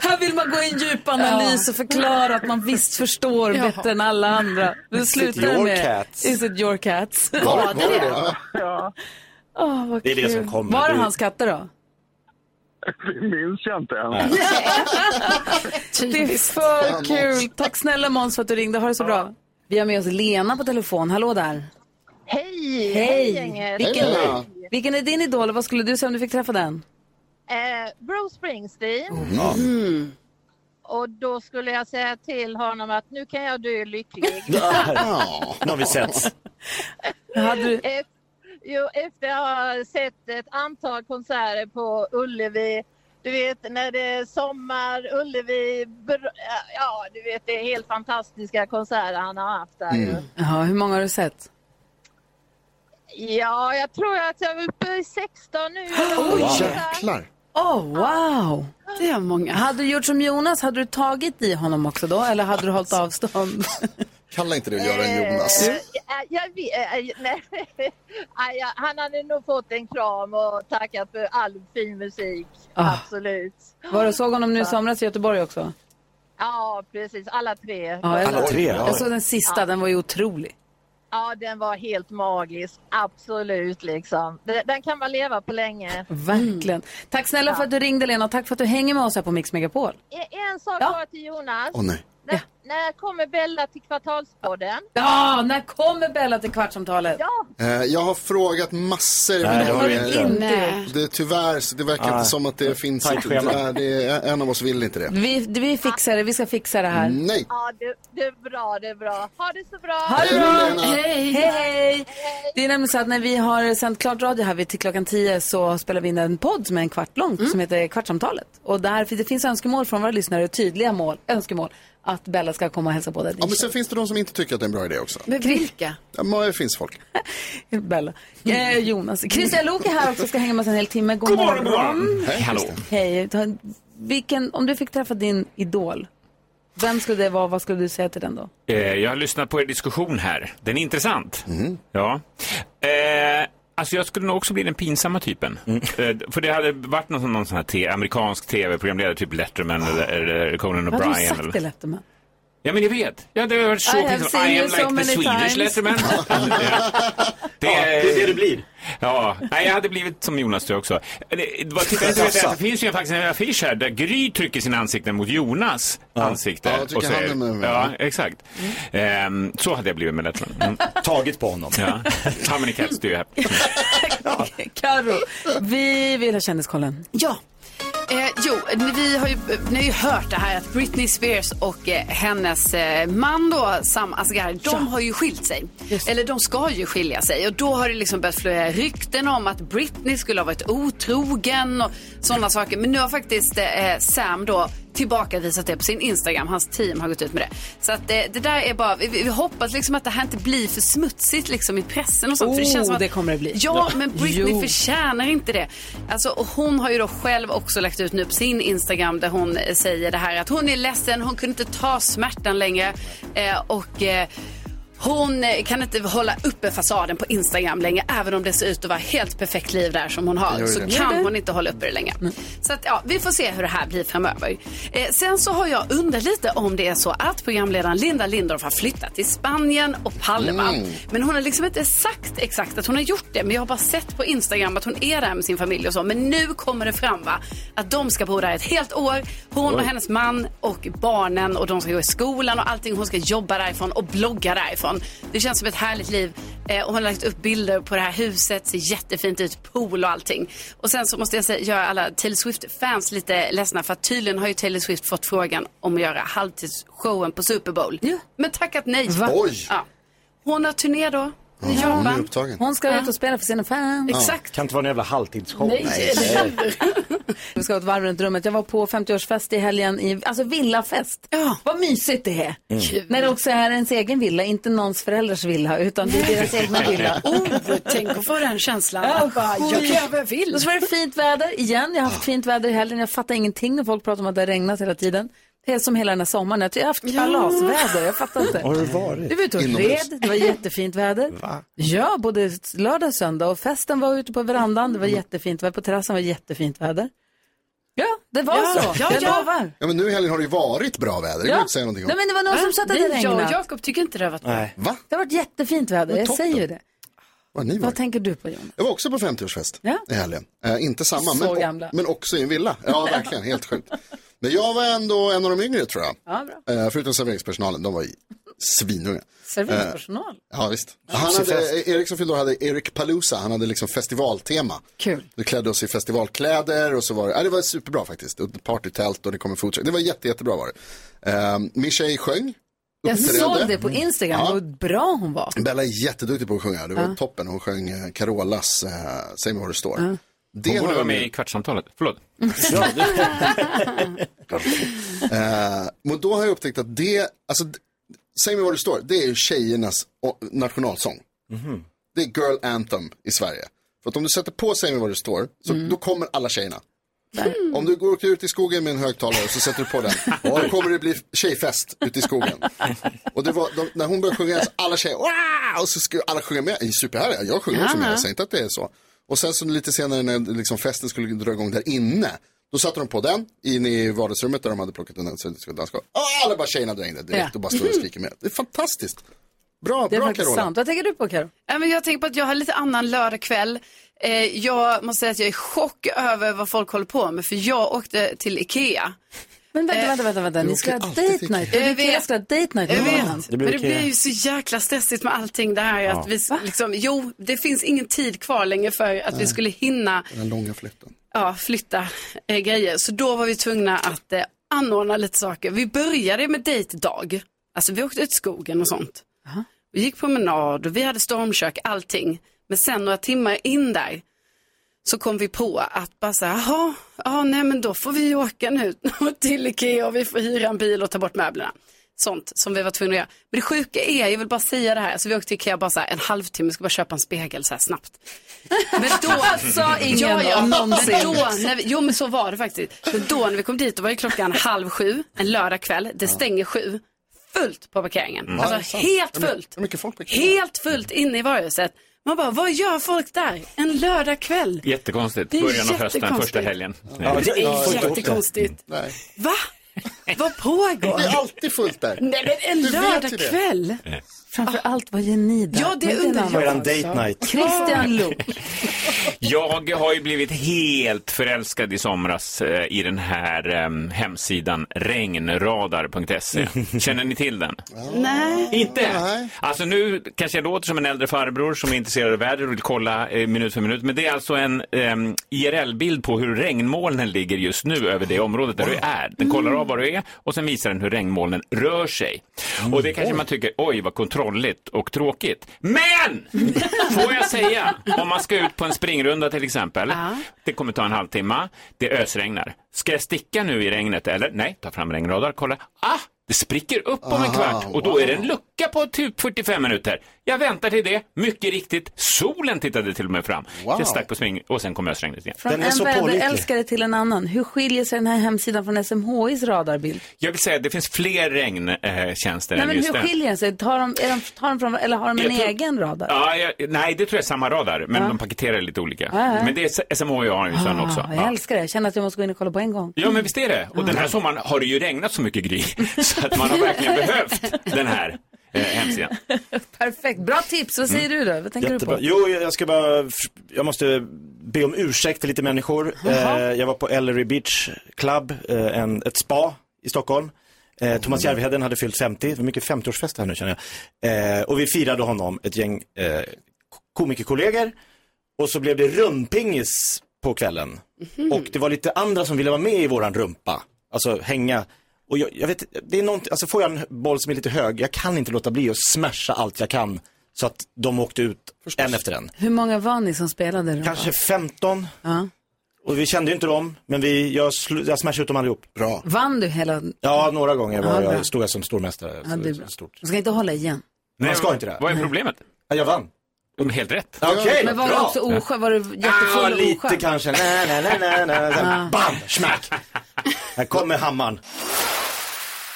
Speaker 1: Här vill man gå i en djup analys och förklara att man visst förstår bättre än alla andra. Du slutar
Speaker 3: your
Speaker 1: med
Speaker 3: cats?
Speaker 1: Is it your cats?
Speaker 2: Var, var det det?
Speaker 8: Ja,
Speaker 1: Åh, vad
Speaker 3: Det är det
Speaker 1: kul.
Speaker 3: som kommer.
Speaker 1: Var det
Speaker 3: Du-
Speaker 1: hans katter då?
Speaker 8: det minns jag inte ens.
Speaker 1: Det är för kul. Tack snälla Måns för att du ringde. Ha det så bra. Vi har med oss Lena på telefon. Hallå där.
Speaker 7: Hej!
Speaker 1: Hej! Vilken,
Speaker 2: Hej.
Speaker 1: vilken är din idol och vad skulle du säga om du fick träffa den?
Speaker 7: Eh, Bruce Springsteen.
Speaker 1: Oh,
Speaker 2: Ja. Mm.
Speaker 7: Och då skulle jag säga till honom att nu kan jag dö lycklig.
Speaker 2: Ja.
Speaker 3: Nu har vi setts.
Speaker 1: Hade du...
Speaker 7: E- jo, efter att ha sett ett antal konserter på Ullevi. Du vet när det är sommar, Ullevi, br- ja du vet det är helt fantastiska konserter han har haft där.
Speaker 3: Mm.
Speaker 7: ju.
Speaker 2: Mm.
Speaker 1: Ja, hur många har du sett?
Speaker 7: Ja, jag tror att jag är uppe i 16 nu.
Speaker 2: Jäklar.
Speaker 1: Åh, oh, wow!
Speaker 4: Det är många.
Speaker 1: Hade du gjort som Jonas, hade du tagit i honom också då? Eller hade du hållit avstånd?
Speaker 2: Kalla inte det att göra en Jonas.
Speaker 7: Eh, jag- jag vet- eh, nej. Nej, jag- Han hade nog fått en kram och tackat för all fin musik.
Speaker 1: Ah.
Speaker 7: Absolut.
Speaker 1: Var du såg honom nu i somras i Göteborg också?
Speaker 7: Ja, precis. Alla tre.
Speaker 1: Ja, jag,
Speaker 3: Alla tre.
Speaker 1: jag såg den sista, den var ju otrolig.
Speaker 7: Ja, den var helt magisk. Absolut, liksom. Den den kan man leva på länge.
Speaker 1: Verkligen.
Speaker 7: Mm.
Speaker 1: Tack snälla för att du ringde Lena och tack för att du hänger med oss här på Mix Megapol.
Speaker 7: E- En sak
Speaker 1: Ja.
Speaker 7: bara till Jonas.
Speaker 2: Åh nej.
Speaker 7: När, när kommer Bella till Kvartalspodden?
Speaker 1: Ja, när kommer Bella till Kvartsamtalet?
Speaker 7: Ja,
Speaker 2: Eh, Jag har frågat massor.
Speaker 3: Nej,
Speaker 2: men
Speaker 3: det har du
Speaker 2: är-
Speaker 3: inte. Ah,
Speaker 1: Inte.
Speaker 2: Det är tyvärr, så det verkar inte som att det finns.
Speaker 3: Tajt schema.
Speaker 2: Nej, det är, en av oss vill inte det.
Speaker 1: Vi, vi fixar det, vi ska fixa det här.
Speaker 2: Nej.
Speaker 7: ja det, det är bra, det är bra. Ha det så bra!
Speaker 1: Ha det bra!
Speaker 2: Hej,
Speaker 1: Hej, hej! Det är nämligen så att när vi har sänt klart radio här vid till klockan 10 så spelar vi in en podd som är en kvart lång som heter Kvartsamtalet. Och där, för det finns önskemål från våra lyssnare, tydliga mål, önskemål, att Bella ska komma och hälsa på dig.
Speaker 2: Ja, men sen finns det de som inte tycker att det är en bra idé också.
Speaker 4: Men vilka?
Speaker 2: Ja, men det finns folk.
Speaker 1: Bella. Eh, Jonas. Christian Lok är här också ska hänga med oss en hel timme. God, morgon. Mm.
Speaker 2: Hej, hallå.
Speaker 1: Hej. Ta- Vilken, om du fick träffa din idol, vem skulle det vara? Vad skulle du säga till den då?
Speaker 9: Eh, jag har lyssnat på er diskussion här. Den är intressant. Ja. Eh, alltså jag skulle nog också bli den pinsamma typen. Eh, för det hade varit någon, sån- någon sån här te- amerikansk tv-programledare, typ Letterman eller, eller Conan
Speaker 1: Vad hade du
Speaker 9: O'Brien.
Speaker 1: sagt
Speaker 9: Eller...
Speaker 1: till Letterman?
Speaker 9: Ja, men jag vet. Ja, det har varit så
Speaker 1: I have
Speaker 9: pinsamt.
Speaker 1: seen
Speaker 9: I
Speaker 1: you
Speaker 9: am
Speaker 1: so
Speaker 9: like
Speaker 1: many
Speaker 9: the Swedish
Speaker 1: times.
Speaker 9: letterman. Det är det det blir. Ja, nej, jag hade blivit som Jonas tror jag också. Det, det var, titta, inte vet jag, det finns ju faktiskt en affisch här där Gry trycker sina ansikten mot Jonas ansikte.
Speaker 2: Ja, jag tycker
Speaker 9: säger-
Speaker 2: han är med Mm. mig.
Speaker 9: ja, exakt. Ehm, så hade jag blivit med letterman. Mm. Tagit på honom. Ja. How many cats do you have?
Speaker 1: Karo, vi vill ha kändiskollen.
Speaker 4: Ja. Eh, jo, vi har ju, ni har ju hört det här att Britney Spears och eh, hennes eh, man då, Sam Asghar, de har ju skilt sig. Eller de ska ju skilja sig. Och då har det liksom börjat florera rykten om att Britney skulle ha varit otrogen och sådana saker. Men nu har faktiskt eh, Sam då tillbakavisat det på sin Instagram. Hans team har gått ut med det. Så att eh, det där är bara, vi, vi hoppas liksom att det här inte blir för smutsigt liksom i pressen och sånt. för det känns som
Speaker 1: Oh,
Speaker 4: att
Speaker 1: det kommer det bli.
Speaker 4: Ja, men Britney
Speaker 1: Jo.
Speaker 4: förtjänar inte det. Alltså, och hon har ju då själv också lagt ut nu på sin Instagram där hon eh, säger det här att hon är ledsen, hon kunde inte ta smärtan längre. Eh, och eh, hon eh, kan inte hålla uppe fasaden på Instagram längre, även om det ser ut att vara helt perfekt liv där som hon
Speaker 10: Jag
Speaker 4: har.
Speaker 10: gör
Speaker 4: Så
Speaker 10: det.
Speaker 4: kan hon inte hålla uppe det längre. Så att, ja, vi får se hur det här blir framöver. Eh, sen så har jag undrat lite om det är så att programledaren Linda Lindorff har flyttat till Spanien och Palma.
Speaker 10: Mm.
Speaker 4: Men hon har liksom inte sagt exakt att hon har gjort det. Men jag har bara sett på Instagram att hon är där med sin familj och så. Men nu kommer det fram va? Att de ska bo där ett helt år. Hon och
Speaker 10: Oj.
Speaker 4: hennes man och barnen och de ska gå i skolan och allting. Hon ska jobba därifrån och blogga därifrån. Det känns som ett härligt liv. Eh, och hon har lagt upp bilder på det här huset. Ser jättefint ut. Pool och allting. Och sen så måste jag säga, göra alla Taylor Swift-fans lite ledsna. För att tydligen har ju Taylor Swift fått frågan om att göra halvtidsshowen på Super Bowl. Men tackat nej.
Speaker 1: Va? Oj.
Speaker 4: Ja. Hon har turné då.
Speaker 1: Ja,
Speaker 4: I Japan.
Speaker 1: hon är Hon ska ut och spela för sina fans.
Speaker 4: Ja. Exakt.
Speaker 3: Kan inte vara en jävla halvtidsshow.
Speaker 1: Nej, eller Vi ska ha ett varv runt rummet. Jag var på 50-årsfest i helgen, i, alltså villafest. Ja. Vad mysigt det är.
Speaker 10: Mm. Kul.
Speaker 1: När det också är ens egen villa, inte någons föräldrars villa, utan det är deras egna villa.
Speaker 4: Oh, tänk att få den känslan.
Speaker 1: Ja,
Speaker 4: bara,
Speaker 1: oj.
Speaker 4: jag kräver vill.
Speaker 1: Och så var det fint väder igen. Jag har haft fint väder i helgen. Jag fattar ingenting när folk pratar om att det har regnat hela tiden. Det är som hela den här sommaren. Jag tror jag har haft kalasväder. Jag fattar inte.
Speaker 10: Har du varit?
Speaker 1: Du var ute och
Speaker 10: Inomhus.
Speaker 1: red. Det var jättefint väder.
Speaker 10: Va?
Speaker 1: Ja, både lördag och söndag. Och festen var ute på verandan. Det var
Speaker 2: Mm.
Speaker 1: jättefint väder. På terrassen var jättefint väder. Ja, det var
Speaker 2: Ja,
Speaker 1: så.
Speaker 2: ja,
Speaker 1: jag
Speaker 2: ja.
Speaker 1: lovar.
Speaker 2: Ja, men nu i helgen har det ju varit bra väder. Det går
Speaker 1: Ja.
Speaker 2: inte att säga någonting om.
Speaker 1: Nej, men det var någon
Speaker 4: Va?
Speaker 1: som sa att det
Speaker 4: Nej,
Speaker 1: hade
Speaker 4: jag och
Speaker 1: regnat.
Speaker 4: Jakob tycker inte det har varit
Speaker 2: Nej. Va?
Speaker 1: Det har varit jättefint väder.
Speaker 2: Men
Speaker 1: Jag
Speaker 2: toppen.
Speaker 1: säger ju det.
Speaker 2: Vad ni
Speaker 1: Vad
Speaker 2: var.
Speaker 1: tänker du på, Jonas?
Speaker 2: Jag var också på 50-årsfest
Speaker 1: Ja.
Speaker 2: i helgen. Eh, inte samma,
Speaker 1: Så
Speaker 2: men,
Speaker 1: gamla.
Speaker 2: men också i en villa. Ja, verkligen. Helt sjukt. Men jag var ändå en av de yngre tror jag.
Speaker 1: Ja, bra.
Speaker 2: Eh, förutom serveringspersonalen, de var i- svinunga. Eh,
Speaker 1: Serveringspersonal.
Speaker 2: Ja visst. Han hade, Erik som fyllde år hade Erik Palusa, han hade liksom festivaltema.
Speaker 1: Kul.
Speaker 2: Vi klädde oss i festivalkläder och så var det, ja, det var superbra faktiskt. Och Partytält och det kom en foodtruck. Det var jätte, jättebra var det. Eh, min tjej sjöng.
Speaker 1: Jag
Speaker 2: uppträdde.
Speaker 1: såg det på Instagram.
Speaker 2: Ja.
Speaker 1: Vad bra hon var.
Speaker 2: Bella är jätteduktig på att sjunga, det var
Speaker 1: Ja.
Speaker 2: toppen. Hon sjöng eh, Carolas, eh, säg mig var du står.
Speaker 1: Ja.
Speaker 2: Det
Speaker 9: Hon borde
Speaker 2: har
Speaker 9: vara
Speaker 2: jag
Speaker 9: med i Kvartssamtalet. Förlåt.
Speaker 2: Eh, men då har jag upptäckt att det, alltså, d- säg mig var du står, det är ju tjejernas o- nationalsång. Det är girl anthem i Sverige. För att om du sätter på säg mig var du står, så
Speaker 1: Mm.
Speaker 2: då kommer alla tjejerna. Om du går ut i skogen med en högtalare så sätter du på den. Då kommer det bli tjejfest ute i skogen. Och det var, de, när hon började sjunga så alla tjejer, "Wow!" och så skulle alla sjunga med. Det är Superhärliga, jag sjunger också med,
Speaker 10: Ja.
Speaker 2: jag säger inte att det är så. Och sen så lite senare när liksom festen skulle dra igång där inne, då satte de på den inne i vardagsrummet där de hade plockat den så det skulle danska. Och alla bara tjejerna drängde direkt
Speaker 1: Ja.
Speaker 2: och bara står och skriker med. Det är fantastiskt. Bra,
Speaker 1: Det är
Speaker 2: bra
Speaker 1: faktiskt
Speaker 2: Carola.
Speaker 1: sant. Vad tänker du på, Karo?
Speaker 4: Ja, men jag tänker på att jag har lite annan lördagkväll. Eh, jag måste säga att jag är i chock över vad folk håller på med för jag åkte till Ikea.
Speaker 1: Men vänta, vänta, vänta, vänta.
Speaker 4: Du
Speaker 1: Ni ska ha
Speaker 4: åker
Speaker 1: date
Speaker 4: alltid till
Speaker 1: night.
Speaker 4: Ikea.
Speaker 1: Jag vet. ska ha date night
Speaker 4: Jag
Speaker 1: imorgon.
Speaker 4: vet, men det blir ju så jäkla stressigt med allting det här.
Speaker 2: Ja.
Speaker 4: Att vi, s- liksom, jo, det finns ingen tid kvar längre för att vi
Speaker 2: Nej.
Speaker 4: skulle hinna
Speaker 2: Den långa flytten.
Speaker 4: ja, flytta eh, grejer. Så då var vi tvungna att eh, anordna lite saker. Vi började med dejtdag. Alltså vi åkte ut i skogen och sånt. Vi gick promenad och vi hade stormkök, allting. Men sen några timmar in där så kom vi på att bara så här, jaha, ja, nej men då får vi åka nu till Ikea och vi får hyra en bil och ta bort möblerna. Sånt som vi var tvungna att göra. Men det sjuka är, jag vill bara säga det här, så vi åkte till Ikea bara så här en halvtimme, ska bara köpa en spegel så här snabbt. Men då
Speaker 1: Sa ingen någonsin.
Speaker 4: Men då, när vi, jo men så var det faktiskt. Men då när vi kom dit, då var det klockan halv sju, en lördagkväll, det stänger sju. Fullt på parkeringen.
Speaker 10: Mm. Ja, det är
Speaker 4: Alltså
Speaker 10: sant.
Speaker 4: helt
Speaker 10: Hur mycket-
Speaker 4: fullt.
Speaker 2: Hur mycket folk brukar det vara?
Speaker 4: Helt fullt inne i varuhuset. Man bara, vad gör folk där? En lördagkväll.
Speaker 9: Jättekonstigt.
Speaker 4: Det är
Speaker 9: Början av hösten,
Speaker 4: jättekonstigt.
Speaker 9: första helgen.
Speaker 4: Ja, det är jättekonstigt.
Speaker 2: Nej.
Speaker 4: Va?
Speaker 1: Vad pågår?
Speaker 2: Det är alltid fullt där.
Speaker 1: Nej, men en
Speaker 2: Du vet ju det.
Speaker 1: lördagkväll. Framför allt var Jenny där.
Speaker 4: Ja, det
Speaker 1: Men
Speaker 4: undrar
Speaker 1: var
Speaker 4: jag
Speaker 1: också.
Speaker 9: Eran date night.
Speaker 1: Christian Luuk.
Speaker 9: Jag har ju blivit helt förälskad i somras eh, i den här eh, hemsidan regnradar.se. E. Känner ni till den?
Speaker 4: Nej.
Speaker 9: Inte? Alltså nu kanske jag låter som en äldre farbror som är intresserad av väder och vill kolla eh, minut för minut. Men det är alltså en ehm, IRL-bild på hur regnmolnen ligger just nu över det området där du är. Den kollar av var du är och sen visar den hur regnmolnen rör sig. Och det kanske man tycker, oj vad kontrolligt och tråkigt. Men! Får jag säga, om man ska ut på en springrunda till exempel. Det kommer ta en halvtimme, det ösregnar. Ska jag sticka nu i regnet eller? Nej, ta fram regnradar, kolla. Ah! Det spricker upp
Speaker 1: Ah,
Speaker 9: om en
Speaker 3: Aha,
Speaker 9: kvart och då
Speaker 3: wow.
Speaker 9: är det en lucka på typ 45 minuter. Jag väntar till det, mycket riktigt. Solen tittade till och med fram.
Speaker 1: Wow.
Speaker 9: Jag stack på spring och sen kom ösregnet igen.
Speaker 1: Från en väderälskare till en annan. Hur skiljer sig den här hemsidan från SMHIs radarbild?
Speaker 9: Jag vill säga att det finns fler regntjänster
Speaker 1: Nej,
Speaker 9: än
Speaker 1: men
Speaker 9: just
Speaker 1: hur
Speaker 9: den.
Speaker 1: skiljer den sig? Tar de, är de, tar de från, eller har de
Speaker 9: Jag
Speaker 1: en
Speaker 9: tror-
Speaker 1: egen radar?
Speaker 9: Ja, jag, nej, det tror jag är samma radar, men
Speaker 1: Ja.
Speaker 9: de paketerar lite olika.
Speaker 1: Ja, ja.
Speaker 9: Men det är SMHI har ju en sån
Speaker 1: Ah,
Speaker 9: också.
Speaker 1: Jag
Speaker 9: Ja.
Speaker 1: älskar det. Jag känner att jag måste gå in och kolla på en gång.
Speaker 9: Ja men visst är det. Och den här sommaren har det ju regnat så mycket Gry, så att man har verkligen behövt den här eh, hemsidan.
Speaker 1: Perfekt. Bra tips. Vad säger
Speaker 9: Mm.
Speaker 1: du då? Vad tänker
Speaker 10: Jättebra.
Speaker 1: du på?
Speaker 10: Jo, jag jag ska bara, f- jag måste be om ursäkt till lite människor. Eh,
Speaker 1: Jaha.
Speaker 10: jag var på Ellery Beach Club, eh, en, ett spa i Stockholm.
Speaker 1: Mm.
Speaker 10: Eh, Thomas Järvheden hade fyllt 50, det var mycket 50-årsfest här nu känner jag. Eh, och vi firade honom, ett gäng eh, komikerkollegor. Och så blev det rumpingis på kvällen.
Speaker 1: Mhm.
Speaker 10: Och det var lite andra som ville vara med i våran rumpa, alltså hänga. Och jag, jag vet, det är någonting, alltså får jag en boll som är lite hög, jag kan inte låta bli att smasha allt jag kan. Så att de åkte ut en efter en.
Speaker 1: Hur många var ni som spelade? då?
Speaker 10: Kanske 15.
Speaker 1: Ja.
Speaker 10: Och vi kände ju inte dem, men vi, jag, sl- jag smashade ut dem allihop.
Speaker 2: Bra.
Speaker 1: Vann du hela...
Speaker 10: Ja, några gånger var
Speaker 1: Ja, bra.
Speaker 10: jag, stod jag som stormästare.
Speaker 1: Ja, det är bra.
Speaker 10: Stort.
Speaker 1: Man ska inte hålla igen.
Speaker 10: Man ska inte det.
Speaker 9: Vad är problemet?
Speaker 10: Ja, jag vann.
Speaker 9: Helt rätt.
Speaker 10: Okej,
Speaker 1: Men var
Speaker 10: bra.
Speaker 1: du också oskön? Var du jättefull
Speaker 10: Ja,
Speaker 1: och Ah. oskön?
Speaker 10: Ah, lite kanske. Nej, nej, nej, nej, nej. Sen, Bam, smack. Här kommer hammaren.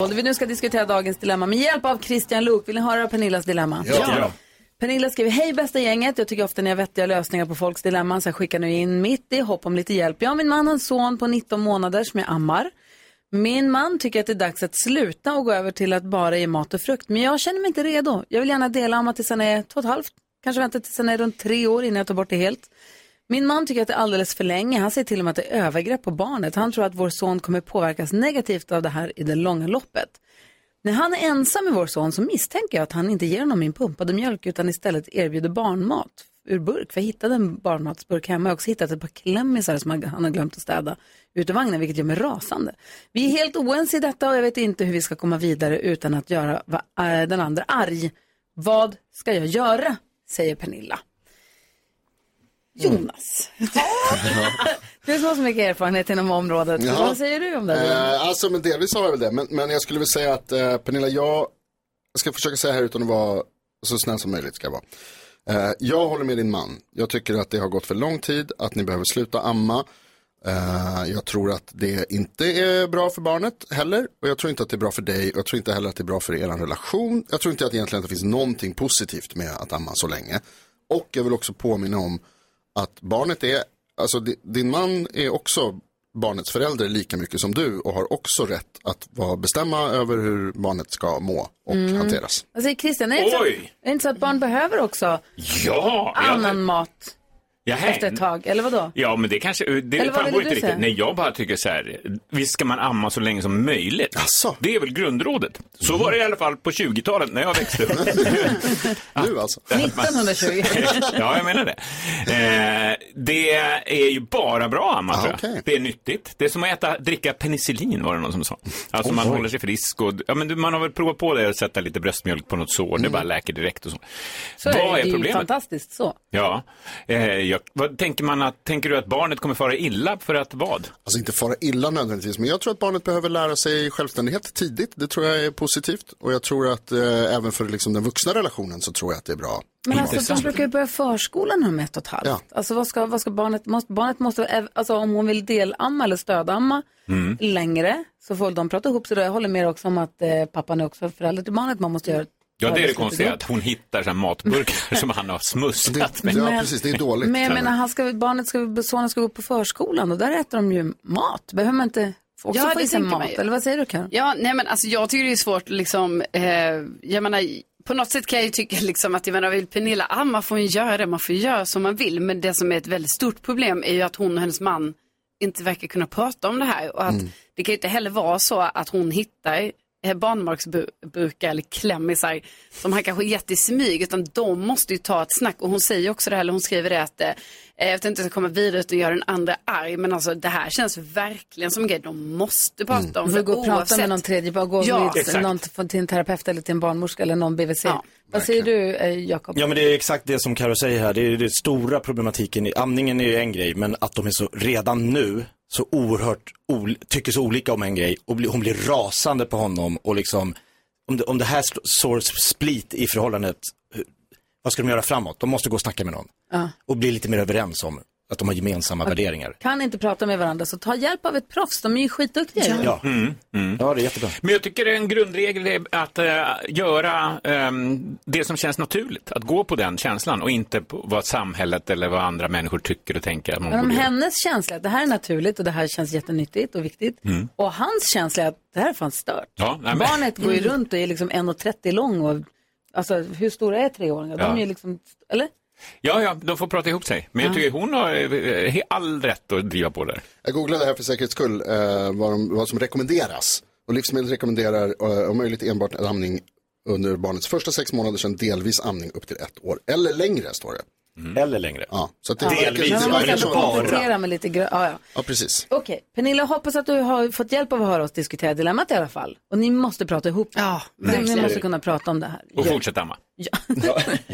Speaker 1: Och vi nu ska diskutera dagens dilemma med hjälp av Christian Luuk. Vill ni höra Pernillas dilemma? Pernilla skriver, hej bästa gänget, jag tycker ofta ni har vettiga lösningar på folks dilemman så jag skickar nu in mitt i hopp om lite hjälp. Jag och min man har en son på 19 månader som jag ammar. Min man tycker att det är dags att sluta och gå över till att bara ge mat och frukt, men jag känner mig inte redo. Jag vill gärna dela amma tills han är två och ett halvt, kanske vänta tills han är runt tre år innan jag tar bort det helt. Min man tycker att det är alldeles för länge. Han säger till och med att det är övergrepp på barnet. Han tror att vår son kommer påverkas negativt av det här i det långa loppet. När han är ensam med vår son så misstänker jag att han inte ger honom min pumpade mjölk utan istället erbjuder barnmat ur burk. För jag hittade en barnmatsburk hemma. Jag har också hittat ett par klämmisar som han han har glömt att städa ute i vagnen, vilket gör mig rasande. Vi är helt oense i detta och jag vet inte hur vi ska komma vidare utan att göra va- äh, den andra arg. Vad ska jag göra? säger Pernilla.
Speaker 10: Mm.
Speaker 1: Jonas. du som har så mycket erfarenhet inom området,
Speaker 2: Ja.
Speaker 1: vad säger du om det?
Speaker 2: Eh, alltså, men delvis har jag väl det. Men, men jag skulle väl säga att eh, Pernilla, jag jag ska försöka säga här utan att vara så snäll som möjligt. ska jag vara. Eh, jag håller med din man. Jag tycker att det har gått för lång tid, att ni behöver sluta amma. Eh, jag tror att det inte är bra för barnet heller. Och jag tror inte att det är bra för dig. Och jag tror inte heller att det är bra för er relation. Jag tror inte att egentligen att det finns någonting positivt med att amma så länge. Och jag vill också påminna om att barnet är, alltså di- din man är också barnets förälder lika mycket som du och har också rätt att vara- bestämma över hur barnet ska må och
Speaker 1: Mm.
Speaker 2: hanteras.
Speaker 1: Vad säger Christian? Är det, inte så, att-
Speaker 2: Oj!
Speaker 1: är det inte så att barn behöver också
Speaker 9: Ja, jag-
Speaker 1: annan mat
Speaker 9: Jaha.
Speaker 1: efter ett tag? Eller vadå?
Speaker 9: Ja, men det kanske,
Speaker 1: Eller
Speaker 9: det
Speaker 1: vad
Speaker 9: framgår
Speaker 1: ville
Speaker 9: inte
Speaker 1: du säga?
Speaker 9: riktigt. Nej, jag bara tycker så här, visst ska man amma så länge som möjligt. Det är väl grundrådet. Så var det i alla fall på 20-talet när jag växte upp.
Speaker 2: nu alltså?
Speaker 1: 1920.
Speaker 9: ja, jag menar det. Eh, det är ju bara bra amma, tror jag. Det är nyttigt. Det är som att äta, dricka penicillin, var det någon som sa. Alltså
Speaker 3: Oj.
Speaker 9: man håller sig frisk och, ja men du, man har väl provat på det, att sätta lite bröstmjölk på något sår, det bara läker direkt och så.
Speaker 1: Så är det, det är ju fantastiskt så.
Speaker 9: Ja, eh, jag, vad tänker man att, tänker du att barnet kommer fara illa för att vad?
Speaker 2: Alltså inte fara illa nödvändigtvis, men jag tror att barnet behöver lära sig självständighet tidigt. Det tror jag är positivt och jag tror att eh, även för liksom, den vuxna relationen så tror jag att det är bra.
Speaker 1: Men
Speaker 2: Mm.
Speaker 1: alltså de brukar ju börja förskolan om ett och ett halvt.
Speaker 2: Ja.
Speaker 1: Alltså vad ska, vad ska barnet, måste, barnet måste, ev- alltså om hon vill delamma eller stödamma
Speaker 6: Mm.
Speaker 1: längre så får de prata ihop sig då. Jag håller med också om att eh, pappan är också förälder till barnet. Man måste göra
Speaker 9: Ja, det är det
Speaker 1: beslutet
Speaker 9: konstiga,
Speaker 1: ihop.
Speaker 9: att hon hittar så här matburkar som han har smusslat med.
Speaker 1: Men- Men jag menar, han ska, barnet ska, sonen ska gå på förskolan och där äter de ju mat. Behöver man inte också
Speaker 4: Ja,
Speaker 1: få
Speaker 4: det
Speaker 1: i sig
Speaker 4: tänker man
Speaker 1: mat?
Speaker 4: ju.
Speaker 1: Eller vad säger du Karin?
Speaker 4: Ja, nej men alltså jag tycker det är svårt liksom, eh, jag menar, på något sätt kan jag ju tycka liksom att, jag menar, vill Pernilla amma får hon göra det, man får göra som man vill. Men det som är ett väldigt stort problem är ju att hon och hennes man inte verkar kunna prata om det här. Och att
Speaker 11: Mm.
Speaker 4: det kan ju inte heller vara så att hon hittar eh, barnmagsburkar eller klämmisar som han kanske gett i smyg, utan de måste ju ta ett snack. Och hon säger ju också det här, eller hon skriver det att eh, jag tänkte inte komma vidare utan göra den andra arg, men alltså det här känns verkligen som en grej de måste prata om.
Speaker 1: Mm. Du får gå och prata med någon tredje, bara gå
Speaker 4: Ja.
Speaker 1: med
Speaker 10: Exakt.
Speaker 1: någon t- till en terapeut eller till en barnmorska eller någon BVC. vad säger du eh, Jakob?
Speaker 10: Ja men det är exakt det som Karo säger här. Det är den stora problematiken. i- Amningen är ju en grej men att de är så redan nu så oerhört ol- tycker så olika om en grej och bli, hon blir rasande på honom och liksom om det, om det här sl- sår split i förhållandet hur- vad ska de göra framåt? De måste gå och snacka med någon
Speaker 1: Ja.
Speaker 10: och bli lite mer överens om att de har gemensamma värderingar.
Speaker 1: Kan inte prata med varandra så ta hjälp av ett proffs, de är ju skitduktiga. ju.
Speaker 10: Ja, ja det är jättebra.
Speaker 9: Men jag tycker en grundregel är att eh, göra ehm, det som känns naturligt. Att gå på den känslan och inte på vad samhället eller vad andra människor tycker och tänker att man
Speaker 1: Men om
Speaker 9: borde göra.
Speaker 1: hennes känsla är att det här är naturligt och det här känns jättenyttigt och viktigt.
Speaker 9: Mm.
Speaker 1: Och hans känsla är att det här är fan stört.
Speaker 9: Ja, nej, men-
Speaker 1: Barnet går ju runt och är liksom 1,30 lång och alltså hur stora är treåringar? De
Speaker 9: Ja.
Speaker 1: är ju liksom, eller?
Speaker 9: Ja, ja, de får prata ihop sig. Men jag
Speaker 1: Ja.
Speaker 9: tycker hon har eh, he- all rätt att driva på där.
Speaker 2: Jag googlade här för säkerhets skull eh, vad, de, vad som rekommenderas. Och livsmedel rekommenderar eh, om möjligt enbart amning under barnets första sex månader, sedan delvis amning upp till ett år. Eller längre, står det.
Speaker 9: Mm.
Speaker 10: Eller längre.
Speaker 2: Ja, så att det
Speaker 1: Ja,
Speaker 2: verkar-
Speaker 1: Men
Speaker 2: det
Speaker 1: man måste
Speaker 2: verkar
Speaker 1: ändå
Speaker 2: så.
Speaker 1: komplettera med lite grö- ja, ja.
Speaker 2: Ja, precis.
Speaker 1: Okej, Pernilla, hoppas att du har fått hjälp av att höra oss diskutera dilemmat i alla fall. Och ni måste prata ihop. Ja, ni
Speaker 9: verkligen.
Speaker 1: måste kunna prata om det här.
Speaker 9: Och fortsätt amma.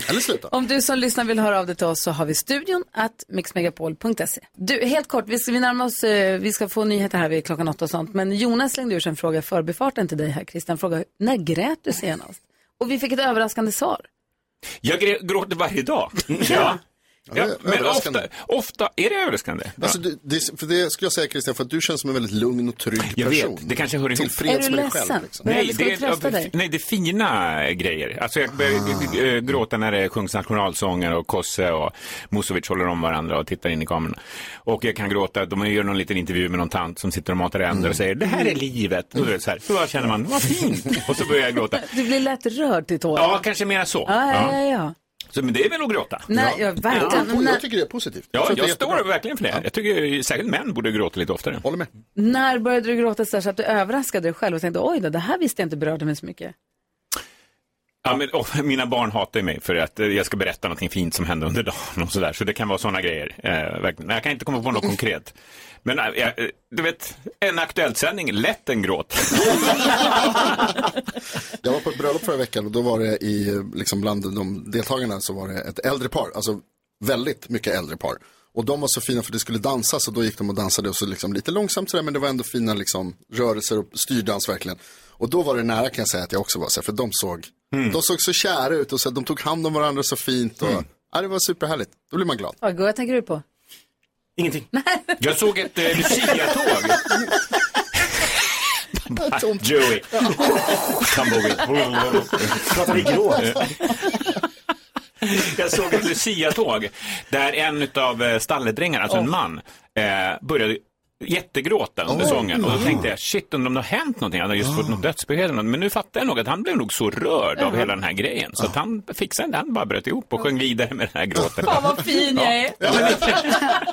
Speaker 2: Eller sluta.
Speaker 1: Om du som lyssnar vill höra av dig till oss så har vi studion att mixmegapol.se. Du, helt kort, vi ska, vi närmar oss, eh, vi ska få nyheter här vid klockan åtta och sånt. Men Jonas slängde ur sig en fråga i förbifarten till dig här, Christian. Fråga, när grät du senast? Och vi fick ett överraskande svar.
Speaker 9: Jag grä- gråter varje dag. Ja. Ja, men ofta, ofta är det överraskande. Ja.
Speaker 2: Alltså, det, det, för det skulle jag säga Christian, för att du känns som en väldigt lugn och trygg
Speaker 9: Jag vet,
Speaker 2: person.
Speaker 9: det kanske hör ihop.
Speaker 2: Tillfreds med dig själv. Liksom.
Speaker 9: Nej, det, är, nej, det är fina grejer. Alltså jag börjar ah. gråta när det sjungs nationalsånger och Kosse och Musovic håller om varandra och tittar in i kameran. Och jag kan gråta, de gör någon liten intervju med någon tant som sitter och matar änder
Speaker 2: Mm.
Speaker 9: och säger det här är livet. Då, är det så här, då känner man, vad fint. Och så börjar jag gråta.
Speaker 1: Du blir lätt rörd till tårar.
Speaker 9: Ja, kanske mera så.
Speaker 1: Ja, ja, ja.
Speaker 9: Ja.
Speaker 1: ja.
Speaker 9: Så, men det är väl att gråta.
Speaker 1: Nej, ja. verkligen.
Speaker 2: Ja,
Speaker 1: när,
Speaker 2: jag tycker det är positivt.
Speaker 9: Ja,
Speaker 2: tror att
Speaker 9: jag
Speaker 2: det är
Speaker 9: står verkligen för det. Jag tycker särskilt män borde gråta lite oftare.
Speaker 2: Håller med.
Speaker 1: när började du gråta så, här så att du överraskade dig själv och tänkte oj då, det här visste jag inte berörde mig så mycket?
Speaker 9: Ja, men, åh, mina barn hatar ju mig för att eh, jag ska berätta någonting fint som hände under dagen och sådär. Så det kan vara sådana grejer. Eh, verkligen. Men jag kan inte komma på något konkret. Men eh, jag, eh, du vet, en aktuell sändning, lätt en gråt.
Speaker 2: Jag var på ett bröllop förra veckan och då var det i, liksom bland de deltagarna så var det ett äldre par, alltså väldigt mycket äldre par. Och de var så fina för det skulle dansas och då gick de och dansade och så liksom lite långsamt sådär men det var ändå fina liksom rörelser och styrdans verkligen. Och då var det nära kan jag säga att jag också var så här, för de såg,
Speaker 9: Mm.
Speaker 2: de såg så kära ut och så här, de tog hand om varandra så fint och ja, det var superhärligt. Då blir man glad.
Speaker 1: Vad vad tänker du på?
Speaker 10: Ingenting.
Speaker 9: Jag såg ett eh, Lucia-tåg. Joey. Tumbleweed.
Speaker 10: Pratar vi gråt?
Speaker 9: Eh, Jag såg ett Lucia-tåg där en av stalledrängarna, alltså en man, eh, började jättegråta under
Speaker 12: Oj.
Speaker 9: sången. Och då
Speaker 12: Mm.
Speaker 9: tänkte jag, shit undrar om det har hänt någonting. Han hade just fått något
Speaker 2: Ah.
Speaker 9: dödsbesked. eller något. Men nu fattar jag nog att han blev nog så rörd av
Speaker 1: Ja.
Speaker 9: hela den här grejen. Så att han fixade det. Han bara bröt ihop och sjöng vidare med den här gråten.
Speaker 1: Fan vad fin jag är!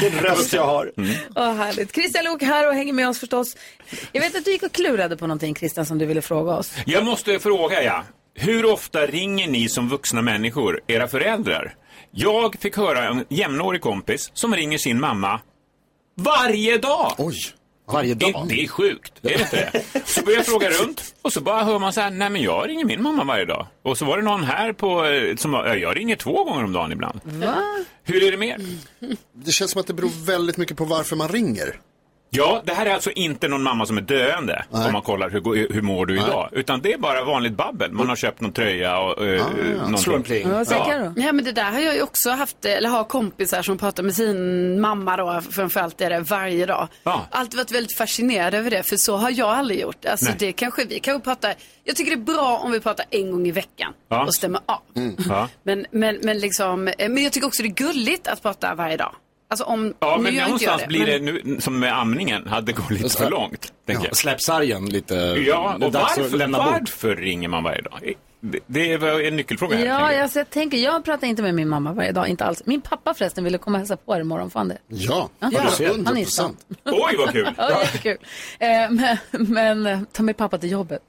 Speaker 10: Den röst jag har.
Speaker 9: Mm.
Speaker 1: Åh, härligt. Christian Lok här och hänger med oss förstås. Jag vet att du gick och klurade på någonting Christian som du ville fråga oss.
Speaker 9: Jag måste fråga, ja. Hur ofta ringer ni som vuxna människor era föräldrar? Jag fick höra en jämnårig kompis som ringer sin mamma varje dag.
Speaker 2: Oj.
Speaker 9: Varje dag? Det, det är sjukt, är det inte det? Så börjar jag fråga runt och så bara hör man så här, nej men jag ringer min mamma varje dag. Och så var det någon här på, eh, som var, "Ja, jag ringer två gånger om dagen ibland.
Speaker 1: Va?
Speaker 9: Hur är det med er?
Speaker 2: Det känns som att det beror väldigt mycket på varför man ringer.
Speaker 9: Ja, det här är alltså inte någon mamma som är döende om man kollar hur, hur mår du idag. Utan det är bara vanligt babbel. Man har köpt någon tröja och
Speaker 3: Ah,
Speaker 9: eh, någonting.
Speaker 4: Ja, men det där har jag ju också haft, eller har kompisar som pratar med sin mamma då, framförallt är det varje dag.
Speaker 9: Ja.
Speaker 4: Alltid varit väldigt fascinerad över det, för så har jag aldrig gjort. Alltså
Speaker 9: Nej.
Speaker 4: det kanske vi kanske pratar, jag tycker det är bra om vi pratar en gång i veckan
Speaker 9: Ja.
Speaker 4: och stämmer av.
Speaker 9: Mm. Ja.
Speaker 4: Men, men, men, liksom, eh, men jag tycker också det är gulligt att prata varje dag. Alltså om,
Speaker 9: Ja,
Speaker 4: nu
Speaker 9: men
Speaker 4: gör jag inte jag
Speaker 9: någonstans
Speaker 4: det,
Speaker 9: blir
Speaker 4: men-
Speaker 9: det nu, som med amningen, att det går lite för långt. Ja,
Speaker 3: släpp sargen lite.
Speaker 9: Ja,
Speaker 3: Det är
Speaker 9: och
Speaker 3: dags att
Speaker 9: varför,
Speaker 3: lämna bort.
Speaker 9: varför ringer man varje dag? Eh, Det- Det är en nyckelfråga. här, tänker
Speaker 1: Ja,
Speaker 9: jag.
Speaker 1: jag, så jag tänker, jag pratar inte med min mamma varje dag, inte alls. Min pappa förresten ville komma och hälsa på er imorgon, får han det?
Speaker 2: Ja,
Speaker 1: han är i stan.
Speaker 9: Oj, vad kul!
Speaker 1: Ja, jättekul. Eh, men, men eh, ta med pappa till jobbet.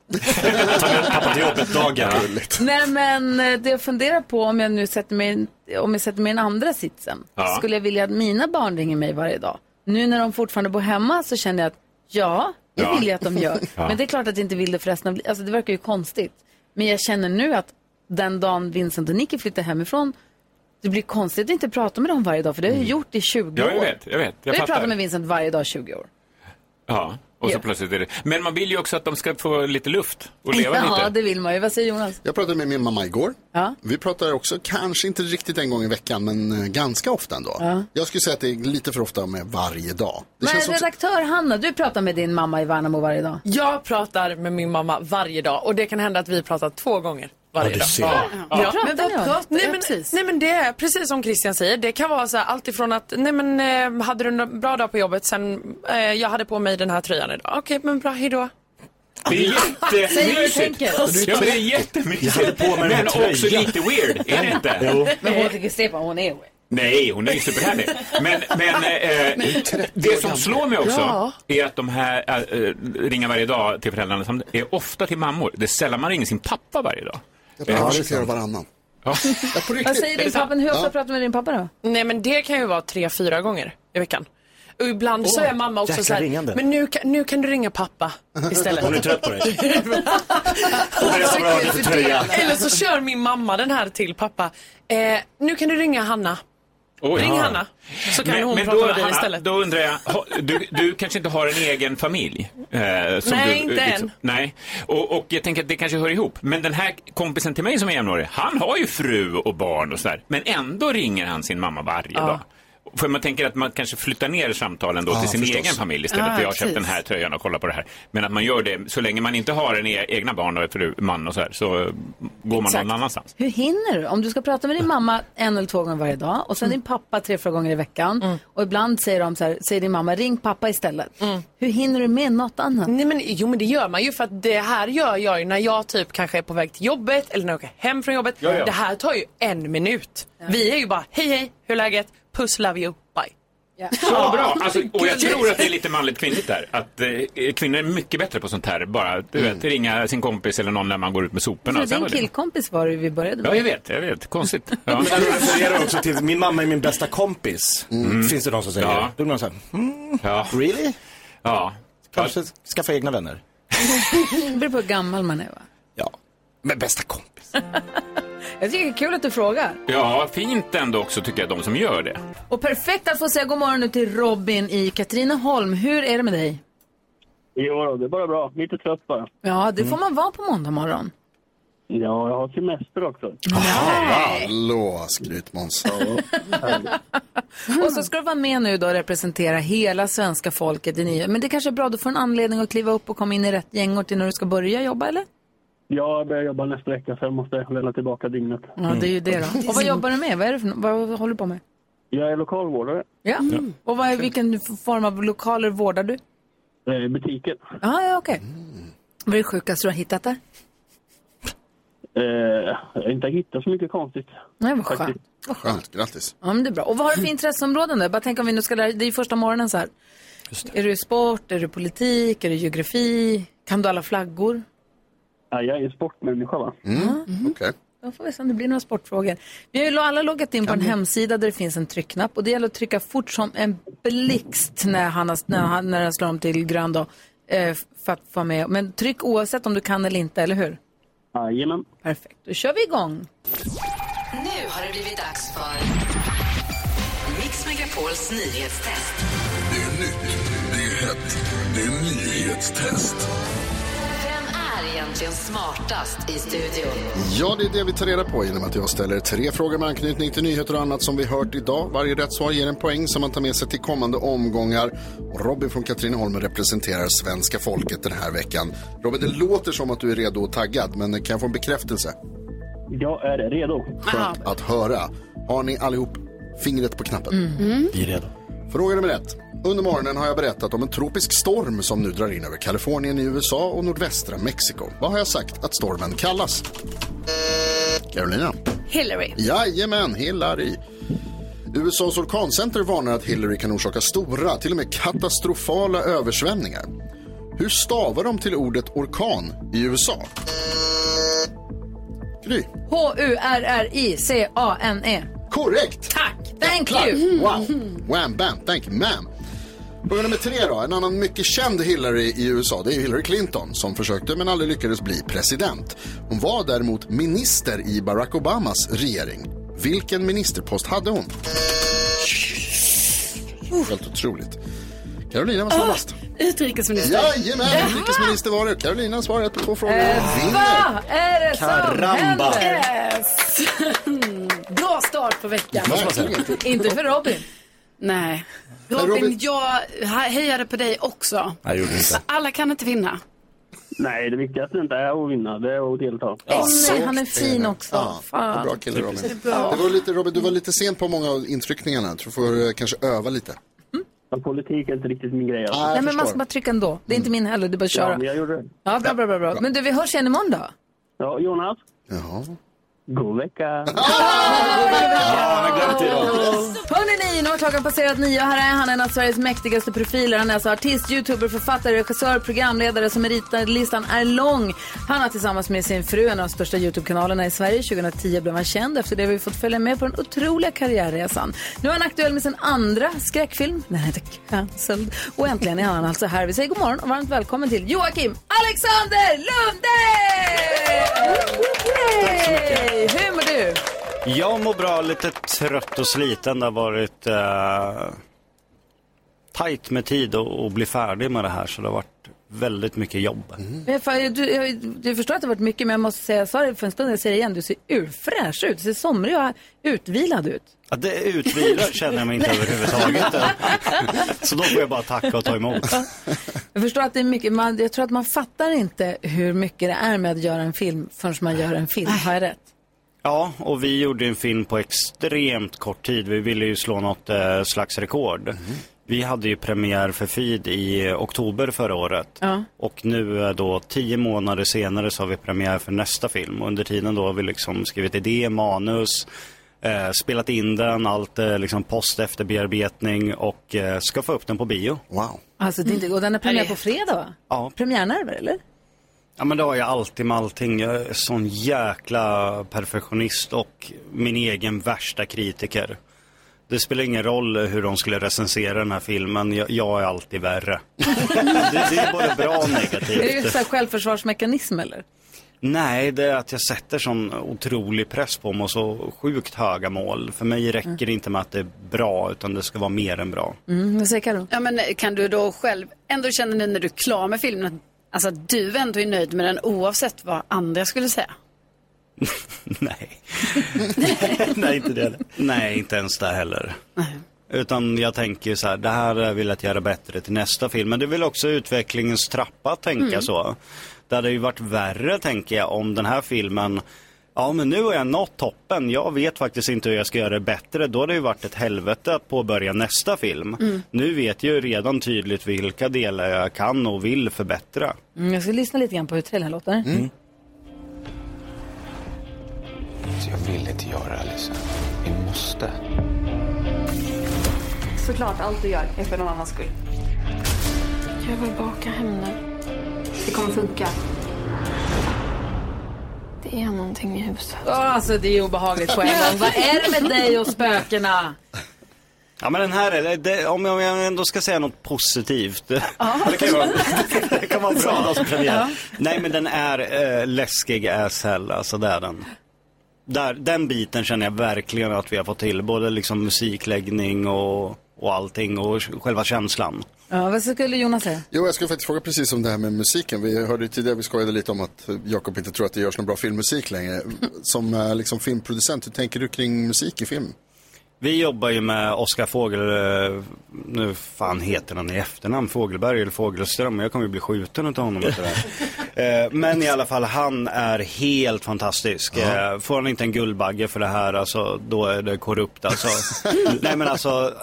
Speaker 3: Pappa till jobbet-dagen.
Speaker 1: Nej, men eh, det jag funderar på om jag nu sätter mig, om jag sätter mig i den andra sitsen.
Speaker 11: Ja.
Speaker 1: Skulle jag vilja att mina barn ringer mig varje dag? Nu när de fortfarande bor hemma så känner jag att ja, det
Speaker 11: Ja.
Speaker 1: vill jag att de gör.
Speaker 11: Ja.
Speaker 1: Men det är klart att jag inte vill det för resten av livet. Alltså det verkar ju konstigt. Men jag känner nu att den dagen Vincent och Nicky flyttar hemifrån, det blir konstigt att inte prata med dem varje dag, för det har jag ju gjort i 20
Speaker 9: Mm. Ja,
Speaker 1: år.
Speaker 9: jag vet, jag vet. Jag
Speaker 1: har ju
Speaker 9: fattar.
Speaker 1: pratat med Vincent varje dag i 20 år.
Speaker 9: Ja, och så
Speaker 1: Ja.
Speaker 9: plötsligt är det. Men man vill ju också att de ska få lite luft och leva
Speaker 1: Ja,
Speaker 9: lite.
Speaker 1: det vill man ju. Vad säger Jonas?
Speaker 2: Jag pratade med min mamma igår.
Speaker 1: Ja.
Speaker 2: Vi pratar också, kanske inte riktigt en gång i veckan, men eh, ganska ofta ändå.
Speaker 1: Ja.
Speaker 2: Jag skulle säga att det är lite för ofta med varje dag. Det
Speaker 1: Men
Speaker 2: känns också...
Speaker 1: redaktör Hanna, du pratar med din mamma i Värnamo varje dag.
Speaker 5: Jag pratar med min mamma varje dag och det kan hända att vi pratar två gånger varje
Speaker 1: Ja, du
Speaker 5: dag.
Speaker 1: ser. Ja.
Speaker 5: Ja.
Speaker 1: Pratar
Speaker 5: Men vad
Speaker 1: ni om?
Speaker 5: pratar-
Speaker 1: Ja,
Speaker 5: Nej, men, nej men det är precis som Christian säger. Det kan vara så här, allt ifrån att nej men eh, hade du en bra dag på jobbet sen eh, jag hade på mig den här tröjan idag. Okej men bra, hejdå.
Speaker 9: Det är
Speaker 5: Säg vad du
Speaker 9: jättemysigt.
Speaker 5: tänker.
Speaker 9: Ja, men det är jättemysigt.
Speaker 5: Jag hade på mig den här
Speaker 9: men också
Speaker 5: tröjan.
Speaker 9: lite weird, är det inte?
Speaker 1: Men hon tycker Stefan, hon är weird.
Speaker 9: Nej, hon är ju superhärlig. Men, men eh, det som slår mig också
Speaker 1: Ja.
Speaker 9: är att de här eh, eh, ringar varje dag till föräldrarna samt- är ofta till mammor. Det är sällan man ringer sin pappa varje dag.
Speaker 2: Jag tror att det är flera varannan.
Speaker 9: Ja.
Speaker 1: Vad säger din pappa? Hur ofta pratar du med din pappa då?
Speaker 5: Nej men det kan ju vara tre, fyra gånger i veckan. Och ibland så
Speaker 1: Åh,
Speaker 5: är mamma också
Speaker 1: jäkla
Speaker 5: så här,
Speaker 1: ringande.
Speaker 5: men nu kan, nu kan du ringa pappa istället.
Speaker 10: Hon är trött på dig.
Speaker 5: Eller så kör min mamma den här till pappa. Eh, nu kan du ringa Hanna.
Speaker 9: Oj.
Speaker 5: Ring
Speaker 9: Ja.
Speaker 5: Hanna. Så kan
Speaker 9: men,
Speaker 5: hon
Speaker 9: men
Speaker 5: prata
Speaker 9: då,
Speaker 5: med dig
Speaker 9: Hanna,
Speaker 5: istället.
Speaker 9: Då undrar jag, ha- du, du kanske inte har en egen familj? eh, som
Speaker 5: Nej,
Speaker 9: du,
Speaker 5: inte
Speaker 9: eh,
Speaker 5: än.
Speaker 9: Nej, och, och jag tänker att det kanske hör ihop. Men den här kompisen till mig som är jämnårig, han har ju fru och barn och sådär. Men ändå ringer han sin mamma varje dag. För man tänker att man kanske flyttar ner samtalen då
Speaker 2: Ja,
Speaker 9: till sin
Speaker 2: förstås.
Speaker 9: egen familj istället.
Speaker 2: Ja,
Speaker 9: för jag har köpt
Speaker 2: precis.
Speaker 9: den här tröjan och kollar på det här. Men att man gör det, så länge man inte har en e- egna barn och fru, man och så här, så eh, går man
Speaker 1: Exakt.
Speaker 9: någon annanstans.
Speaker 1: Hur hinner du? Om du ska prata med din mamma en eller två gånger varje dag och sen din pappa tre, fyra gånger i veckan och ibland säger, de så här, säger din mamma ring pappa istället. Hur hinner du med något annat?
Speaker 5: Nej, men, jo men det gör man ju för att det här gör jag ju när jag typ kanske är på väg till jobbet eller när jag åker hem från jobbet.
Speaker 1: Ja, ja.
Speaker 5: Det här tar ju en minut. Vi är ju bara hej hej, hur är läget? Puss, love you, bye.
Speaker 9: Ja, bra. Alltså, och jag tror att det är lite manligt kvinnligt där. Att eh, kvinnor är mycket bättre på sånt här. Bara du
Speaker 10: Mm.
Speaker 9: vet, ringa sin kompis eller någon när man går ut med soporna.
Speaker 1: För
Speaker 9: Sen
Speaker 1: din
Speaker 9: var alltså, det-
Speaker 1: killkompis var det vi började med.
Speaker 9: Ja, jag vet. Jag vet. Konstigt. Ja.
Speaker 10: Men jag refererar också till, min mamma är min bästa kompis.
Speaker 13: Mm.
Speaker 10: Finns det någon som säger
Speaker 9: Ja.
Speaker 10: det? Då blir man så här, mm,
Speaker 9: ja.
Speaker 10: really?
Speaker 9: Ja.
Speaker 10: Kanske skaffa egna vänner.
Speaker 1: Det beror på hur gammal man är va?
Speaker 10: Men bästa kompis.
Speaker 1: Jag tycker det är kul att du frågar.
Speaker 9: Ja, fint ändå också tycker jag, de som gör det.
Speaker 1: Och perfekt att få säga god morgon nu till Robin i Katrineholm. Hur är det med dig?
Speaker 12: Jo, då, det är bara bra. Lite trött bara.
Speaker 1: Ja, det får man vara på måndag morgon.
Speaker 12: Ja, jag har semester också.
Speaker 2: Hallå, skrytmåns.
Speaker 1: Och så ska du vara med nu då och representera hela svenska folket i nya. Men det kanske är bra, du får en anledning att kliva upp och komma in i rätt gängor till när du ska börja jobba eller?
Speaker 12: Jag börjar jobba nästa vecka så jag måste lämna tillbaka dygnet.
Speaker 1: Ja, det är ju det då. Och vad jobbar du med? Vad, är det för, no- vad håller du på med?
Speaker 12: Mm. Jag är lokalvårdare. Mm.
Speaker 1: Ja. Och vad är, vilken form av lokaler vårdar du?
Speaker 12: Eh, Butiken.
Speaker 1: Ah, ja, okej. Vad är det sjukaste du har hittat där?
Speaker 12: Eh, jag har inte hittat så mycket konstigt.
Speaker 1: Nej, vad skönt.
Speaker 2: Skönt, grattis.
Speaker 1: Ja, men det är bra. Och vad har du för intresseområden då? Jag Bara tänk om vi nu ska lära, det är ju första morgonen så här. Är du sport, är du politik, är du geografi? Kan du alla flaggor?
Speaker 12: Ja, jag är sportmänniska va.
Speaker 2: Mm. Okej.
Speaker 1: Då får vi se om det blir några sportfrågor. Vi har ju alla loggat in på en hemsida där det finns en tryckknapp och det gäller att trycka fort som en blixt när, han, har- när, han, när den slår om till grön då, eh, för att få med. Men tryck oavsett om du kan eller inte, eller hur?
Speaker 12: Jajamän.
Speaker 1: Perfekt, då kör vi igång.
Speaker 11: Nu har det blivit dags för Mix Megapols nyhetstest. Det är nytt, det är hett, det är nyhetstest. Vem är egentligen smartast i studion?
Speaker 2: Ja, det är det vi tar reda på genom att jag ställer tre frågor med anknytning till nyheter och annat som vi hört idag. Varje rätt svar ger en poäng som man tar med sig till kommande omgångar. Och Robin från Katrineholm representerar svenska folket den här veckan. Robin, det låter som att du är redo och taggad, men kan jag få en bekräftelse?
Speaker 12: Jag är redo.
Speaker 2: Skönt att höra. Har ni allihop fingret på knappen.
Speaker 11: Mm.
Speaker 2: Vi är redo. Fråga nummer ett. Under morgonen har jag berättat om en tropisk storm som nu drar in över Kalifornien i USA och nordvästra Mexiko. Vad har jag sagt att stormen kallas? Carolina.
Speaker 4: Hillary.
Speaker 2: Jajamän, Hillary. USAs orkancenter varnar att Hillary kan orsaka stora, till och med katastrofala översvämningar. Hur stavar de till ordet orkan i USA? Gry.
Speaker 1: H-U-R-R-I-C-A-N-E.
Speaker 2: Korrekt!
Speaker 1: Tack! E. Thank
Speaker 2: Klart.
Speaker 1: you!
Speaker 2: Wow. Wham, bam, thank you, ma'am. Fråga nummer tre då. En annan mycket känd Hillary i USA, det är Hillary Clinton som försökte men aldrig lyckades bli president. Hon var däremot minister i Barack Obamas regering. Vilken ministerpost hade hon? Helt otroligt. Carolina var snabbast.
Speaker 4: Utrikesminister.
Speaker 2: Jajamän, utrikesminister var det. Carolina svarade på två frågor. Vinner.
Speaker 1: Vad Ah, är det
Speaker 2: Karamba.
Speaker 1: som händer?
Speaker 4: Bra start på veckan.
Speaker 2: Verkligen.
Speaker 1: Inte för Robin.
Speaker 4: Nej. Robin, jag hejade på dig också.
Speaker 2: Nej, gjorde inte.
Speaker 4: Alla kan inte vinna.
Speaker 12: Nej, det viktigaste inte är att vinna, det är att delta.
Speaker 4: Ja,
Speaker 2: Alltså,
Speaker 1: Nej, han är fin också.
Speaker 2: Ja,
Speaker 1: Fan.
Speaker 2: Bra kille Robin.
Speaker 1: Det är
Speaker 2: Det
Speaker 1: bra.
Speaker 2: var lite, Robin. Du var lite sen på många av intryckningarna. Jag tror Du får eh, kanske öva lite.
Speaker 12: Politik är inte riktigt min grej. alltså.
Speaker 2: Ah, jag
Speaker 1: Nej, men man
Speaker 2: förstår.
Speaker 1: ska bara trycka ändå. Det är inte min heller, det är bara att
Speaker 12: Ja,
Speaker 1: köra.
Speaker 12: men jag gjorde det.
Speaker 1: Ja, bra, bra, bra, bra. Men du, vi hörs igen imorgon då.
Speaker 12: Ja, Jonas.
Speaker 2: Jaha.
Speaker 12: God vecka. Ah,
Speaker 1: Hörni ni, nu har klockan passerat nio och här är han en av Sveriges mäktigaste profiler. Han är alltså artist, youtuber, författare, regissör, programledare så meritlistan är lång. Han har tillsammans med sin fru en av de största Youtube-kanalerna i Sverige. 2010 blev han känd. Efter det har vi fått följa med på den otroliga karriärresan. Nu är han aktuell med sin andra skräckfilm. Den heter Cancelled. Och äntligen är han alltså här. Vi säger god morgon och varmt välkommen till Joakim Alexander Lunde! Tack så mycket. Hur mår du?
Speaker 14: Jag mår bra, lite trött och sliten. Det har varit eh, tajt med tid att att bli färdig med det här så det har varit väldigt mycket jobb.
Speaker 1: Men för, du, jag, du förstår att det har varit mycket, men jag måste säga, jag sa det för en stund, jag säger det igen, du ser urfräsch ut. Du ser somrig och utvilad ut.
Speaker 14: Ja, det utvilar känner jag mig inte överhuvudtaget. så då får jag bara tacka och ta emot.
Speaker 1: Jag förstår att det är mycket, man, jag tror att man fattar inte hur mycket det är med att göra en film förrän man gör en film. Har jag rätt?
Speaker 14: Ja, och vi gjorde en film på extremt kort tid. Vi ville ju slå något eh, slags rekord. Vi hade ju premiär för Feed i eh, oktober förra året.
Speaker 1: Ja.
Speaker 14: Och nu eh, då tio månader senare så har vi premiär för nästa film. Och under tiden då har vi liksom skrivit idé, manus, eh, spelat in den, allt eh, liksom post efterbearbetning och eh, ska få upp den på bio.
Speaker 2: Wow.
Speaker 1: Alltså, det är inte, och den är premiär på fredag, va?
Speaker 14: Ja.
Speaker 1: Premiärnerver, eller?
Speaker 14: Ja men det har jag alltid med allting. Jag är sån jäkla perfektionist och min egen värsta kritiker. Det spelar ingen roll hur de skulle recensera den här filmen, jag, jag är alltid värre. det, det är både bra och
Speaker 1: Är det ju
Speaker 14: negativt.
Speaker 1: så här självförsvarsmekanism, eller?
Speaker 14: Nej, det är att jag sätter sån otrolig press på mig och så sjukt höga mål. För mig räcker det inte med att det är bra, utan det ska vara mer än bra.
Speaker 1: Mm, vad säger Karo?
Speaker 4: Ja, men eh, kan du då själv ändå känna nu när du är klar med filmen att alltså, att du ändå är nöjd med den oavsett vad andra skulle säga?
Speaker 14: Nej, inte det heller. Nej, inte ens det heller. Utan jag tänker så här, det här vill jag att göra bättre till nästa film. Men det är väl också utvecklingens trappa, tänker
Speaker 13: Mm.
Speaker 14: jag så. Det hade ju varit värre, tänker jag, om den här filmen Ja men nu har jag nått toppen, jag vet faktiskt inte hur jag ska göra det bättre. Då har det ju varit ett helvete att påbörja nästa film.
Speaker 1: Mm.
Speaker 14: Nu vet jag ju redan tydligt vilka delar jag kan och vill förbättra.
Speaker 1: Mm, jag ska lyssna lite grann på hur trailern låter.
Speaker 14: Mm.
Speaker 1: Mm.
Speaker 15: Så jag vill inte göra det, Lisa. Vi måste.
Speaker 16: Såklart, allt du gör är för någon annans skull. Jag vill baka henne. Det kommer funka. Det är någonting i huset.
Speaker 1: Åh, alltså, det är obehagligt på en gång. Vad är det med dig och spökena?
Speaker 14: Ja men den här, är- det, om jag om jag ändå ska säga något positivt. det kan ju vara, det kan vara bra dags premiär.
Speaker 11: Ja.
Speaker 14: Nej men den är eh, läskig as hell, alltså det är den. Där, den biten känner jag verkligen att vi har fått till, både liksom musikläggning och, och allting och själva känslan.
Speaker 1: Ja, vad skulle Jonas säga?
Speaker 2: Jo, jag skulle faktiskt fråga precis om det här med musiken. Vi hörde ju tidigare, vi skojade lite om att eh, Jakob inte tror att det görs någon bra filmmusik längre. Som eh, liksom filmproducent, hur tänker du kring musik i film?
Speaker 14: Vi jobbar ju med Oskar Fågel, eh, nu fan heter han i efternamn, Fågelberg eller Fågelström, jag kommer ju bli skjuten utav honom efter det här. Eh, Men i alla fall, han är helt fantastisk. Eh, Får han inte en guldbagge för det här, alltså, då är det korrupt. Alltså. Nej men alltså,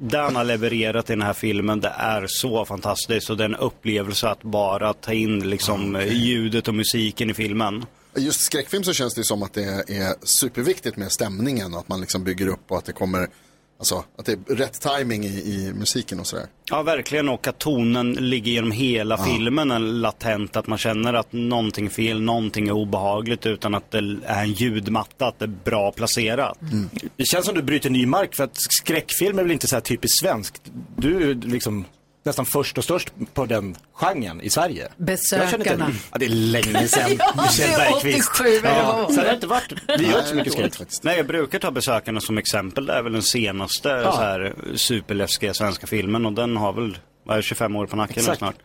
Speaker 14: det han har levererat i den här filmen, det är så fantastiskt. Och det är en upplevelse att bara ta in liksom, ljudet och musiken i filmen.
Speaker 2: Just skräckfilm så känns det ju som att det är superviktigt med stämningen och att man liksom bygger upp och att det kommer, alltså att det är rätt timing i, i musiken och sådär.
Speaker 14: Ja, verkligen. Och att tonen ligger genom hela
Speaker 2: Ja.
Speaker 14: filmen är latent. Att man känner att någonting är fel, någonting är obehagligt utan att det är en ljudmatta, att det är bra placerat.
Speaker 10: Det känns som du bryter ny mark för att skräckfilm är väl inte så här typiskt svenskt. Du är ju liksom nästan först och störst på den genren i Sverige. Jag känner
Speaker 1: Besökarna.
Speaker 10: inte, ja, det är länge sedan.
Speaker 1: Ja,
Speaker 10: Michel
Speaker 1: det är
Speaker 10: Bergqvist.
Speaker 1: 87 eller vad var
Speaker 10: ja,
Speaker 1: det?
Speaker 10: så det har inte varit, vi gör inte så mycket skräck.
Speaker 14: Nej, jag brukar ta besökarna som exempel. Det är väl den senaste
Speaker 10: Ja.
Speaker 14: så här, superläskiga svenska filmen och den har väl vad är det, 25 år på nacken nu
Speaker 10: Exakt.
Speaker 14: snart.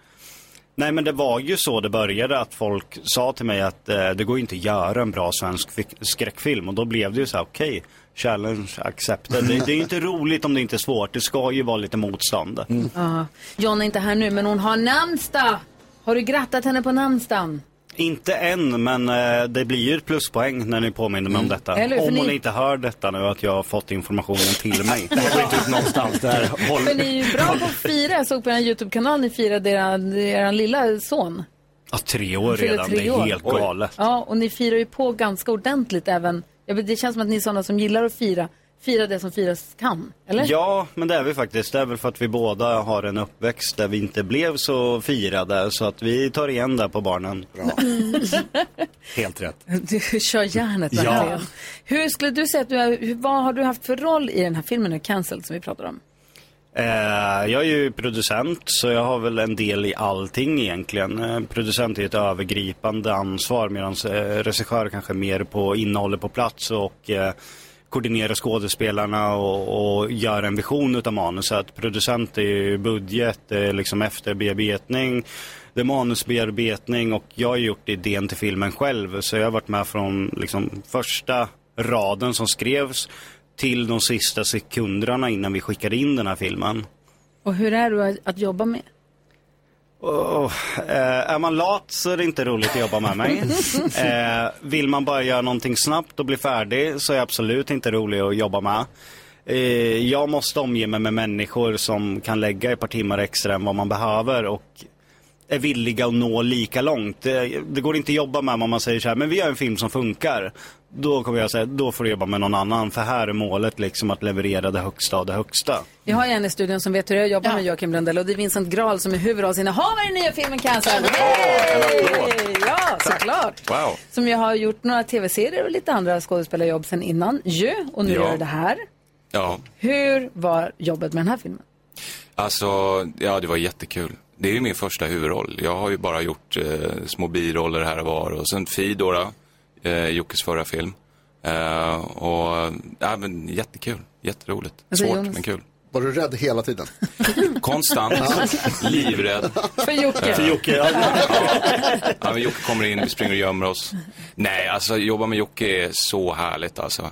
Speaker 14: Nej men det var ju så det började att folk sa till mig att eh, det går ju inte att göra en bra svensk fi- skräckfilm och då blev det ju så här okej, challenge accepted. Det, det är ju inte roligt om det inte är svårt, det ska ju vara lite motstånd.
Speaker 10: Mm.
Speaker 1: Ja. John är inte här nu, men hon har namnsdag. Har du grattat henne på namnsdagen?
Speaker 14: Inte än men eh, det blir ju ett pluspoäng när ni påminner mig om detta.
Speaker 1: Mm. Eller hur, för
Speaker 14: om hon
Speaker 1: ni-
Speaker 14: inte hör detta nu att jag har fått informationen till mig. det här går inte ut någonstans. Det här håller-
Speaker 1: För ni är ju bra på att fira. Jag såg på er YouTube-kanal ni firade er, er lilla son.
Speaker 14: Ja, tre
Speaker 1: Han
Speaker 14: år
Speaker 1: fyller
Speaker 14: redan.
Speaker 1: tre
Speaker 14: det är
Speaker 1: år.
Speaker 14: helt galet.
Speaker 1: Ja, och ni firar ju på ganska ordentligt även. Jag vet, Det känns som att ni är sådana som gillar att fira. Fira det som firas kan, eller?
Speaker 14: Ja, men det är vi faktiskt. Det är väl för att vi båda har en uppväxt där vi inte blev så firade. Så att vi tar igen där på barnen.
Speaker 10: Helt rätt.
Speaker 1: Du kör järnet
Speaker 14: Ja.
Speaker 1: verkligen. Hur skulle du säga att du är, hur- vad har du haft för roll i den här filmen nu, Cancelled, som vi pratar om?
Speaker 14: Eh, jag är ju producent så jag har väl en del i allting egentligen. Eh, producent är ett övergripande ansvar medan eh, regissör kanske är mer på innehållet på plats och eh, koordinera skådespelarna och, och göra en vision utav manuset. Producent är ju budget, det är liksom efterbearbetning, det är manusbearbetning och jag har gjort idén till filmen själv så jag har varit med från liksom första raden som skrevs till de sista sekunderna innan vi skickade in den här filmen.
Speaker 1: Och hur är du att- att jobba med?
Speaker 14: Åh, eh, är man lat så är det inte roligt att jobba med mig. Eh, vill man bara göra någonting snabbt och bli färdig så är jag absolut inte rolig att jobba med. Eh, jag måste omge mig med människor som kan lägga ett par timmar extra än vad man behöver och är villiga att nå lika långt. Det, det går inte att jobba med om man säger så här, men vi gör en film som funkar. Då kommer jag säga, då får du jobba med någon annan för här är målet liksom att leverera det högsta av det högsta.
Speaker 1: Vi har ju en i studion som vet hur jag jobbar med Joakim Lundell och det är Vincent Grahl som är huvudrollsinnehavare i nya filmen Cancelled. Yay! Ja, såklart.
Speaker 9: Wow.
Speaker 1: Som ju har gjort några tv-serier och lite andra skådespelarjobb sen innan ju och nu
Speaker 13: Ja.
Speaker 1: gör det här.
Speaker 13: Ja,
Speaker 1: Hur var jobbet med den här filmen?
Speaker 13: alltså, ja det var jättekul. Det är ju min första huvudroll. Jag har ju bara gjort eh, små biroller här och var och sen Fidora, eh, Jockes förra film. Eh, och, ja men jättekul, jätteroligt.
Speaker 2: Vad säger
Speaker 13: Svårt
Speaker 2: Jonas?
Speaker 13: men kul.
Speaker 2: Var du rädd hela tiden?
Speaker 13: Konstant, livrädd.
Speaker 1: För Jocke.
Speaker 13: Eh, Ja, men Jocke kommer in, vi springer och gömmer oss. Nej, alltså jobba med Jocke är så härligt alltså.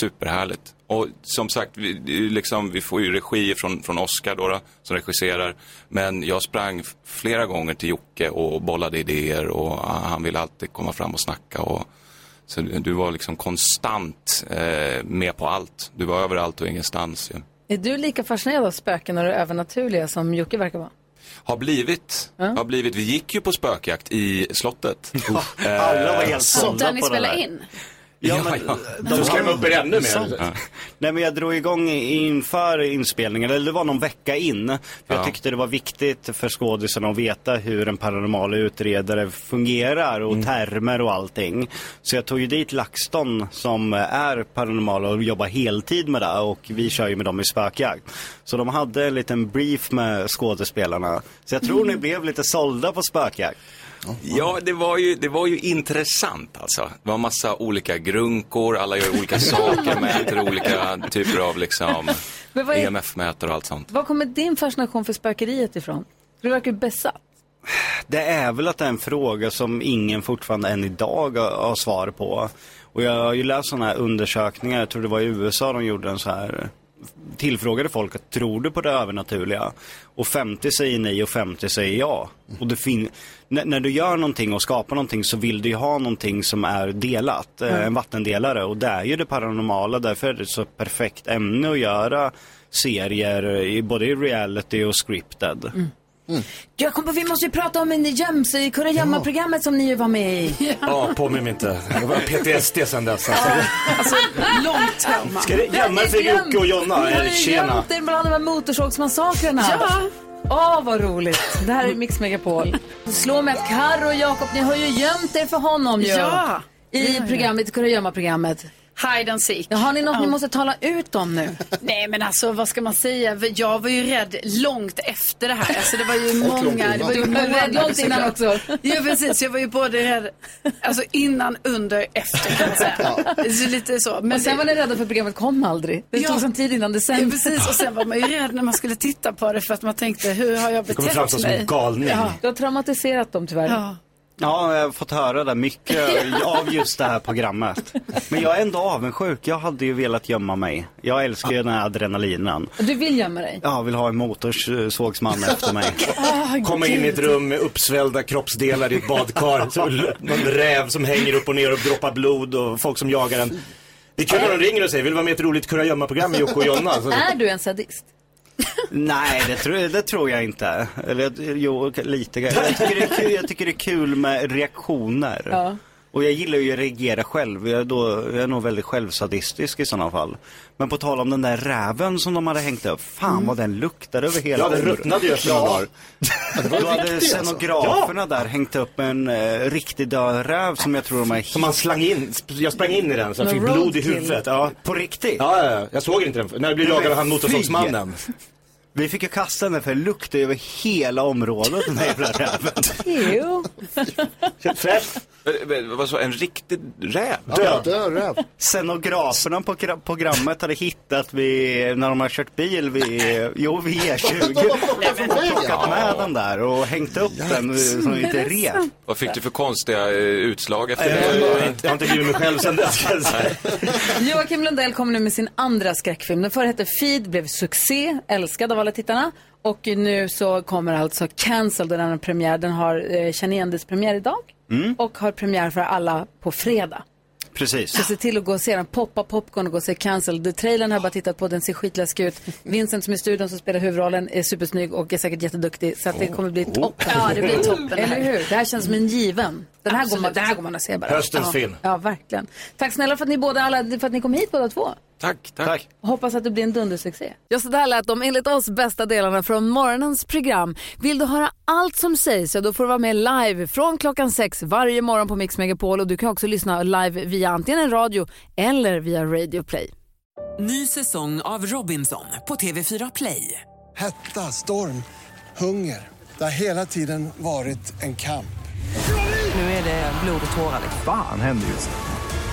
Speaker 13: Superhärligt. Och som sagt, vi, det är ju liksom, vi får ju regi från, från Oscar då, då, som regisserar. Men jag sprang f- flera gånger till Jocke och bollade idéer och ah, han ville alltid komma fram och snacka. Och, så du du var liksom konstant eh, med på allt. Du var överallt och ingenstans. Ja.
Speaker 1: Är du lika fascinerad av spöken och det övernaturliga som Jocke verkar vara?
Speaker 13: Har blivit, har blivit. Vi gick ju på spökjakt i slottet.
Speaker 14: alla var helt
Speaker 13: Eh,
Speaker 14: sålda
Speaker 4: Där ni spelar in.
Speaker 13: Ja, men, Då ska de upp er ännu mer. Ja.
Speaker 14: Nej men jag drog igång i- inför inspelningen, eller det var någon vecka in. För
Speaker 13: Ja.
Speaker 14: Jag tyckte det var viktigt för skådisarna att veta hur en paranormal utredare fungerar och termer och allting. Så jag tog ju dit LaxTon som är paranormal och jobbar heltid med det och vi kör ju med dem i spökjakt. Så de hade en liten brief med skådespelarna. Så jag tror ni blev lite sålda på spökjakt.
Speaker 13: Ja, det var, ju, det var ju intressant alltså. Det var massa olika grunkor, alla gör olika saker, mäter olika typer av liksom
Speaker 1: Men vad är-
Speaker 13: EMF-mätare och allt sånt.
Speaker 1: Var kommer din fascination för spökeriet ifrån? Du verkar ju besatt.
Speaker 14: Det är väl att det är en fråga som ingen fortfarande än idag har, har svar på. Och jag har ju läst sådana här undersökningar, jag tror det var i USA de gjorde en så här tillfrågade folk att tror du på det övernaturliga? Och 50 säger nej och 50 säger ja. Och det fin- N- när du gör någonting och skapar någonting så vill du ju ha någonting som är delat, eh,
Speaker 17: Mm.
Speaker 14: en vattendelare. Och det är ju det paranormala, därför är det så perfekt ämne att göra serier, i både i reality och scripted.
Speaker 1: Jag kom på, vi måste ju prata om en göms i Kurragömma-programmet som ni ju var med i.
Speaker 3: Ja, påminn mig inte. Jag var PTSD sen dess. Alltså.
Speaker 1: Alltså, långt hemma.
Speaker 3: Ska det jämna sig Jocke och Jonna?
Speaker 1: Ni har
Speaker 3: Eh,
Speaker 1: ju
Speaker 3: tjena.
Speaker 1: gömt er bland de här motorsågsmassakrerna.
Speaker 5: Ja.
Speaker 1: Åh, vad roligt. Det här är Mix Megapol. Slå mig att Karo och Jakob, ni har ju gömt er för honom ju.
Speaker 4: Ja.
Speaker 1: I
Speaker 4: Ja, ja.
Speaker 1: programmet, Kurragömma-programmet.
Speaker 4: Hide and seek.
Speaker 1: Ja, har ni något ni måste tala ut om nu?
Speaker 4: Nej men alltså vad ska man säga? Jag var ju rädd långt efter det här. Alltså det var ju
Speaker 1: Och långt
Speaker 4: många. Det var ju
Speaker 1: innan. Du var rädd
Speaker 4: månader
Speaker 1: långt innan
Speaker 4: såklart.
Speaker 1: också.
Speaker 4: Ja precis, jag var ju både rädd alltså innan, under, efter kan man säga. Så lite så.
Speaker 1: och sen var ni rädda för programmet kom aldrig. Det
Speaker 4: Ja.
Speaker 1: tog sån tid innan det
Speaker 4: Ja,
Speaker 1: sändes.
Speaker 4: precis, och sen var man ju rädd när man skulle titta på det för att man tänkte hur har jag
Speaker 14: Det
Speaker 4: betett
Speaker 14: kommer
Speaker 4: mig?
Speaker 14: framstå som en galning.
Speaker 4: Ja.
Speaker 1: Du har traumatiserat dem tyvärr.
Speaker 4: Ja.
Speaker 14: Ja, jag har fått höra det mycket av just det här programmet. Men jag är ändå avundsjuk. Jag hade ju velat gömma mig. Jag älskar ju den här adrenalinen.
Speaker 1: Och du vill gömma dig?
Speaker 14: Jag vill ha en motorsågsman efter mig.
Speaker 1: Ah,
Speaker 3: Komma in i ett
Speaker 1: gud.
Speaker 3: rum med uppsvällda kroppsdelar i ett badkar. Så l- Någon räv som hänger upp och ner och droppar blod och folk som jagar en. Det är kul när de ringer och säger, vill du vara med i ett roligt kurragömmaprogram med Jocke och Jonna? Så,
Speaker 1: Är du en sadist?
Speaker 14: Nej, det tror, det tror jag inte. Eller jo, lite. Jag tycker det är kul, jag tycker det är kul med reaktioner.
Speaker 1: Ja.
Speaker 14: Och jag gillar ju att reagera själv. Jag är, då, jag är nog väldigt självsadistisk i sådana fall. Men på tal om den där räven som de hade hängt upp. Fan vad den luktade över hela
Speaker 3: Ja, den
Speaker 14: området.
Speaker 3: ruttnade ju efter några dagar.
Speaker 14: Då hade
Speaker 3: riktigt, alltså.
Speaker 14: scenograferna där hängt upp en eh, riktig död räv som jag tror de har Som
Speaker 3: man slang in, jag sprang in i den så jag fick blod i huvudet. Ja.
Speaker 14: På riktigt?
Speaker 3: Ja, ja, ja. jag såg inte den. När jag blev jagad av han motorsågsmannen.
Speaker 14: Vi fick ju kasta den för det luktade över hela området den här jävla räven.
Speaker 1: Jo.
Speaker 13: Eh, eh, Vad sa en riktig räv?
Speaker 14: Scenograferna på gra- programmet hade hittat vid, när de har kört bil vid, eh, jo vid E20. Och plockat med den där och hängt upp den eh, som
Speaker 13: Är
Speaker 14: inte
Speaker 13: det
Speaker 14: rev.
Speaker 13: sant? Vad fick du för konstiga eh, utslag efter det?
Speaker 3: Jag har inte blivit mig själv sen dess kan jag säga.
Speaker 1: Joakim Lundell kommer nu med sin andra skräckfilm. Den förra hette Feed, blev succé, älskad av alla tittarna. Och nu så kommer alltså Cancel, den andra premiär. Den har eh, Känn igen dess premiär idag
Speaker 14: Mm,
Speaker 1: och har premiär för alla på fredag. Så
Speaker 14: precis.
Speaker 1: se till att gå och se den. Poppa popcorn och gå och se Cancel. The trailern har jag bara tittat på, den ser skitläskig ut. Vincent som är i studion som spelar huvudrollen är supersnygg och är säkert jätteduktig. Så att
Speaker 3: Oh,
Speaker 1: det kommer bli toppen.
Speaker 4: Ja, det blir toppen här.
Speaker 1: Eller hur? Det här känns som en given. Den här, går man, den här går man att se bara.
Speaker 3: Höstens
Speaker 1: ja.
Speaker 3: film.
Speaker 1: Ja, verkligen. Tack snälla för att ni, båda, alla, för att ni kom hit båda två.
Speaker 13: Tack, tack.
Speaker 1: Hoppas att det blir en dundersuccé. Ja, så där lät de enligt oss bästa delarna från morgonens program. Vill du höra allt som sägs, ja, då får du vara med live från klockan sex varje morgon på Mix Megapol. Och du kan också lyssna live via antingen en radio eller via Radio Play.
Speaker 18: Ny säsong av Robinson på TV4 Play.
Speaker 19: Hetta, storm, hunger. Det har hela tiden varit en kamp.
Speaker 18: Nu är det blod och tårar. liksom.
Speaker 20: Fan händer just det.